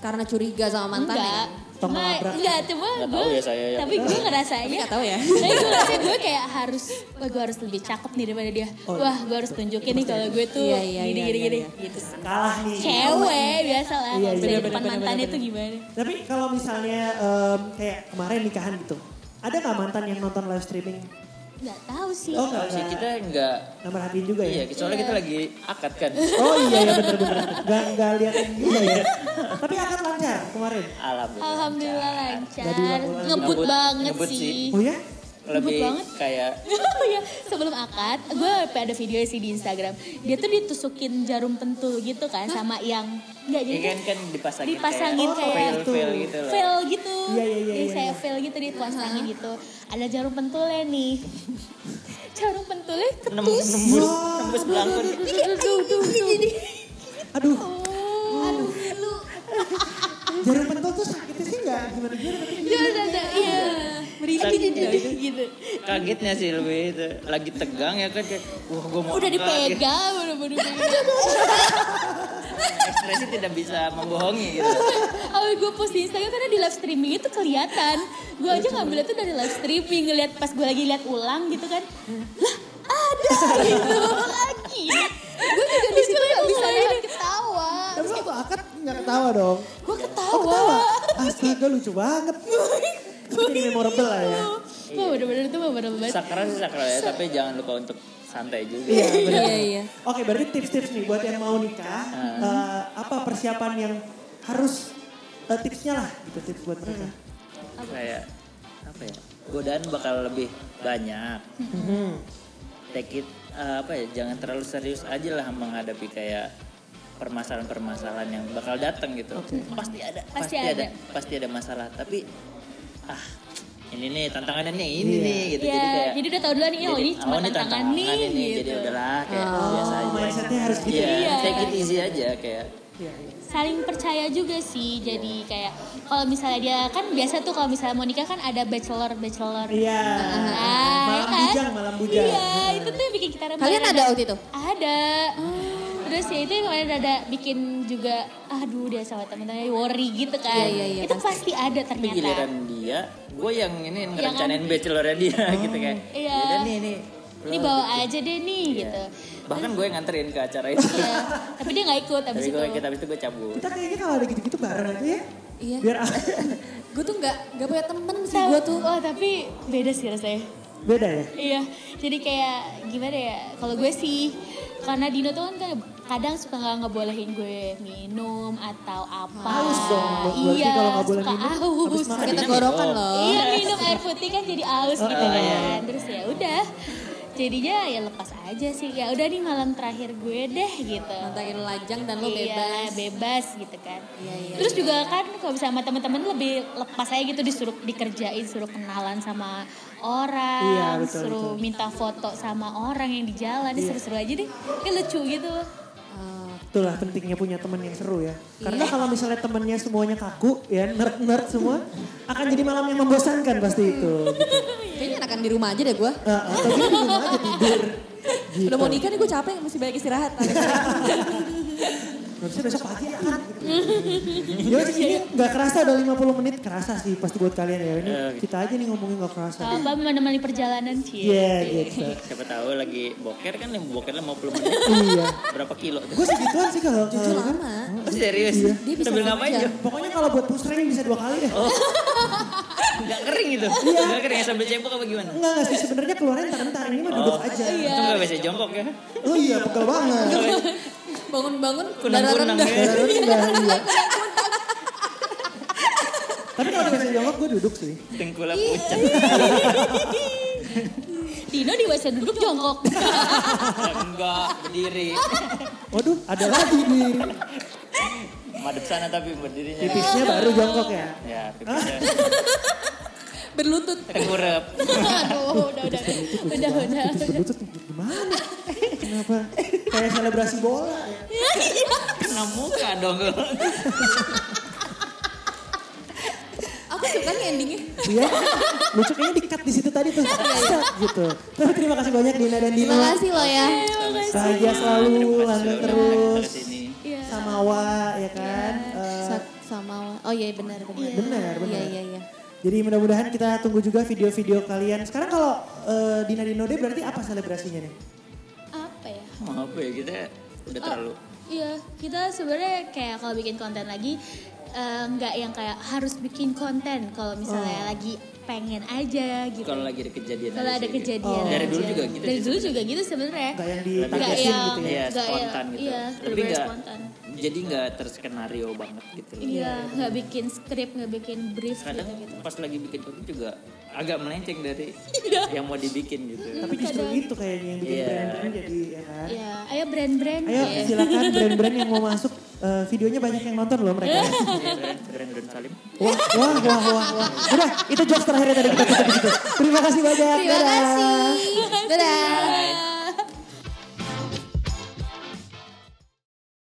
karena curiga sama mantan ya?
enggak.
Tong
Enggak,
labrak.
enggak, cuma
Nggak
gue,
tahu ya saya ya.
tapi gue ngerasanya,
Nggak tahu ya.
tapi gue ngerasanya Nah, gue kayak harus, wah gue harus lebih cakep nih daripada dia.
Oh.
Wah gue harus tunjukin nih kalau gue tuh
Iya, iya,
gini,
iya,
gini,
iya,
gini.
iya.
Gitu. sih.
Kalah nih.
Cewek biasa lah,
Iya, iya,
kalau misalnya di
bener,
depan
bener,
mantannya
bener,
tuh gimana.
Tapi kalau misalnya em, kayak kemarin nikahan gitu, ada nggak mantan yang nonton live streaming?
Nggak tahu sih.
Oh
Tahu
nggak
sih kita enggak
Nomor hatiin juga
iya
ya?
soalnya kita lagi akad kan.
Oh iya ya bener-bener. Gak, gak liatin juga ya. Tapi akan lancar kemarin.
Alhamdulillah.
Alhamdulillah lancar,
Jadi nggak boleh.
ngebut
Ngebut-
banget
ngebut
sih.
sih.
Oh ya?
Lebih
banget.
kayak
Oh iya, sebelum akad, gue ada video sih di Instagram. Dia tuh ditusukin jarum pentul gitu kan sama yang nggak jadi
Iya
ya kan kan dipasangin,
Dipasangin
kayak,
kayak
fail fail gitu loh.
fail gitu.
Iya, iya, iya,
Jadi
iya,
saya
iya.
fail gitu dipasangin gitu. Ada jarum pentulnya nih. jarum pentulnya Iya,
Nem-
ketus.
nembus nembus belangkon.
Jadi
Aduh. Aduh Jarum pentul tuh sakitnya sih nggak gimana-gimana. Tapi
ya udah udah iya. Merinding gitu. gitu.
Kagetnya sih lebih itu. Lagi tegang ya kan kayak wah gue mau
Udah
angkat, gitu.
dipegang, baru-baru
ekspresi tidak bisa membohongi gitu.
Awal gue post di Instagram karena di live streaming itu kelihatan. Gue aja ngambilnya tuh dari live streaming ngeliat pas gue lagi lihat ulang gitu kan. Lah ada gitu lagi. Gue juga di situ gak bisa nahan ketawa.
tapi waktu akad nggak ketawa dong.
Gue
Oh
ketawa.
ketawa? Astaga lucu banget. Tapi memorable lah ya.
Wah bener-bener itu memorable banget.
Sakral sih sakral ya, tapi jangan lupa untuk santai juga.
Iya bener.
Iya iya.
Oke, berarti tips-tips nih buat yang mau nikah,
Iya.
eh, apa persiapan yang harus eh, tipsnya lah, gitu tips buat mereka.
Kayak apa ya? Godaan bakal lebih banyak.
Mhm.
Take it eh, apa ya? Jangan terlalu serius aja lah menghadapi kayak permasalahan-permasalahan yang bakal datang gitu. Pasti ada,
Pasti
pasti,
ada.
ada. pasti ada masalah. Tapi ah ini nih tantangannya nih, ini nih gitu.
Iya,
jadi kayak
jadi udah tau duluan nih, oh ini cuma
oh,
tantangan nih
ini, Jadi
gitu.
udahlah kayak biasa aja.
Mindsetnya harus gitu.
Iya,
Iya.
take it easy aja kayak
Saling percaya juga sih, jadi kayak kalau misalnya dia kan biasa tuh kalau misalnya mau nikah kan ada bachelor bachelor.
Iya.
Ah,
Malam
ya kan?
bujang, malam bujang.
Iya, itu tuh yang bikin kita remaja.
Kalian ada waktu itu?
Ada. Terus ya itu yang kemarin ada bikin juga, aduh dia sama temen-temennya worry gitu kan.
Iya, iya, iya,
itu pasti, ada
Tapi
ternyata.
giliran dia, gue yang ini
Yang
ngerencanain bachelornya dia gitu kayak.
Iya.
"Yaudah nih nih.
Ini
lo
bawa aja deh nih
gitu."
gitu.
Iya. Bahkan gue yang nganterin ke acara itu.
Iya. Tapi dia gak ikut abis
Tapi
itu.
gue kita habis itu gue cabut.
Kita kayaknya kalau ada gitu-gitu bareng aja ya.
Iya.
Biar
Gue tuh nggak nggak punya temen sih
Tahu-
gue tuh.
Wah Oh, tapi beda sih rasanya.
beda ya.
Iya, jadi kayak gimana ya? Kalau gue sih, karena Dino tuh kan kayak kadang suka nggak ngebolehin gue minum atau apa.
Haus dong, berarti
iya,
kalau nggak boleh
suka
minum,
haus.
habis makan
Sakit
Minum,
tenggorokan
minum.
loh.
Iya minum air putih kan jadi aus gitu
Oh, iya.
kan. Terus ya udah. Jadinya ya lepas aja sih. Ya udah nih malam terakhir gue deh gitu.
Nantangin lajang dan lo
Iya,
bebas.
bebas gitu kan.
Iya, iya,
Terus juga kan kalau bisa sama teman-teman lebih lepas aja gitu disuruh dikerjain, suruh kenalan sama orang,
Iya, betul,
suruh
betul. Iya.
minta foto sama orang yang di jalan, ini seru-seru aja deh. Kayak lucu gitu.
Ah,
Itulah pentingnya punya teman yang seru ya. Karena kalau misalnya temannya semuanya kaku ya nerd-nerd semua akan jadi malam yang membosankan pasti itu. Gitu.
Eh, kayaknya enakan di rumah aja deh gue.
Eh, atau gini di rumah aja tidur. Gitu.
Udah mau nikah nih gue capek mesti banyak istirahat.
Harusnya besok pagi ya kan. Gitu. Ya ini gak kerasa udah 50 menit kerasa sih pasti buat kalian ya. Ini kita aja nih ngomongin gak kerasa.
Kalau Mbak menemani perjalanan sih.
Iya gitu.
Siapa tahu lagi boker kan yang bokernya mau puluh menit.
Iya.
Berapa kilo? tuh?
Gue segituan sih kalau
Jujur
kalau-
lama.
Oh, serius?
Iya.
Dia bisa
Sambil ngapain
kerja.
Jo?
Pokoknya kalau buat push ring bisa dua kali deh.
Gak kering gitu?
Iya.
Gak kering ya sambil cebok apa gimana?
Enggak enggak sih sebenarnya keluarnya entar-entar ini mah duduk aja.
Itu gak bisa jongkok ya?
Oh iya pegel banget.
Bangun-bangun darah
Kunang-kunang
rendah.
ya.
Baru rendah, iya. Tapi kalau bahasa Jawa gue duduk sih.
Dengkulnya
Iya.
pucat.
Dino di WC duduk jongkok.
Enggak, berdiri.
Waduh, ada lagi nih.
Madep sana tapi berdirinya.
Pipisnya baru jongkok ya.
Ya, pipisnya
Berlutut.
tengkurep.
Aduh, udah udah. Udah udah.
Pipis berlutut gimana? Kenapa? Kayak selebrasi bola ya.
Kena muka dong.
Aku suka nih endingnya.
Iya. Lucu kayaknya dikat di situ tadi tuh. Set, gitu. Tapi terima kasih banyak Dina dan Dino.
Terima kasih lo ya.
Bahagia selalu, langgeng
Terima kasih sudah
terus.
datang ke sini.
Iya.
Sama Wa ya kan. Eh,
Sa- Sama, oh iya benar benar.
Benar, benar.
Iya iya iya.
Jadi mudah-mudahan kita tunggu juga video-video kalian. Sekarang kalau eh, Dina Dino Day berarti apa selebrasinya nih?
Apa ya?
Mau apa ya kita udah terlalu.
Iya, kita sebenarnya kayak kalau bikin konten lagi eh, nggak yang kayak harus bikin konten kalau misalnya lagi pengen aja gitu.
Kalau lagi ada kejadian.
Kalau ada
sih, gitu.
kejadian
Oh. Dari Oh.
aja.
dulu juga gitu
Dari
sih
dulu juga gitu sebenarnya.
Gak yang
Lebih
Nggak
ditagasin
yang-
gitu ya?
Iya,
Nggak,
spontan
iya,
gitu.
iya,
Lebih
bener-bener
gak,
spontan.
jadi gak terskenario banget gitu. loh.
Iya, nggak bikin skrip, nggak bikin brief
Kadang
gitu. gitu.
pas lagi bikin konten juga agak melenceng dari yang mau dibikin gitu.
Tapi justru itu kayaknya yang bikin
Iya.
brand-brand jadi ya kan.
Iya, ayo brand-brand.
Ayo
Iya.
silakan brand-brand yang mau masuk eh, videonya banyak yang nonton loh mereka.
Keren, keren, keren Salim.
Wah, wah, wah, wah, wah. Udah, itu jokes terakhirnya tadi kita tutup di situ. Terima kasih banyak.
Terima
dadah.
kasih. Dadah.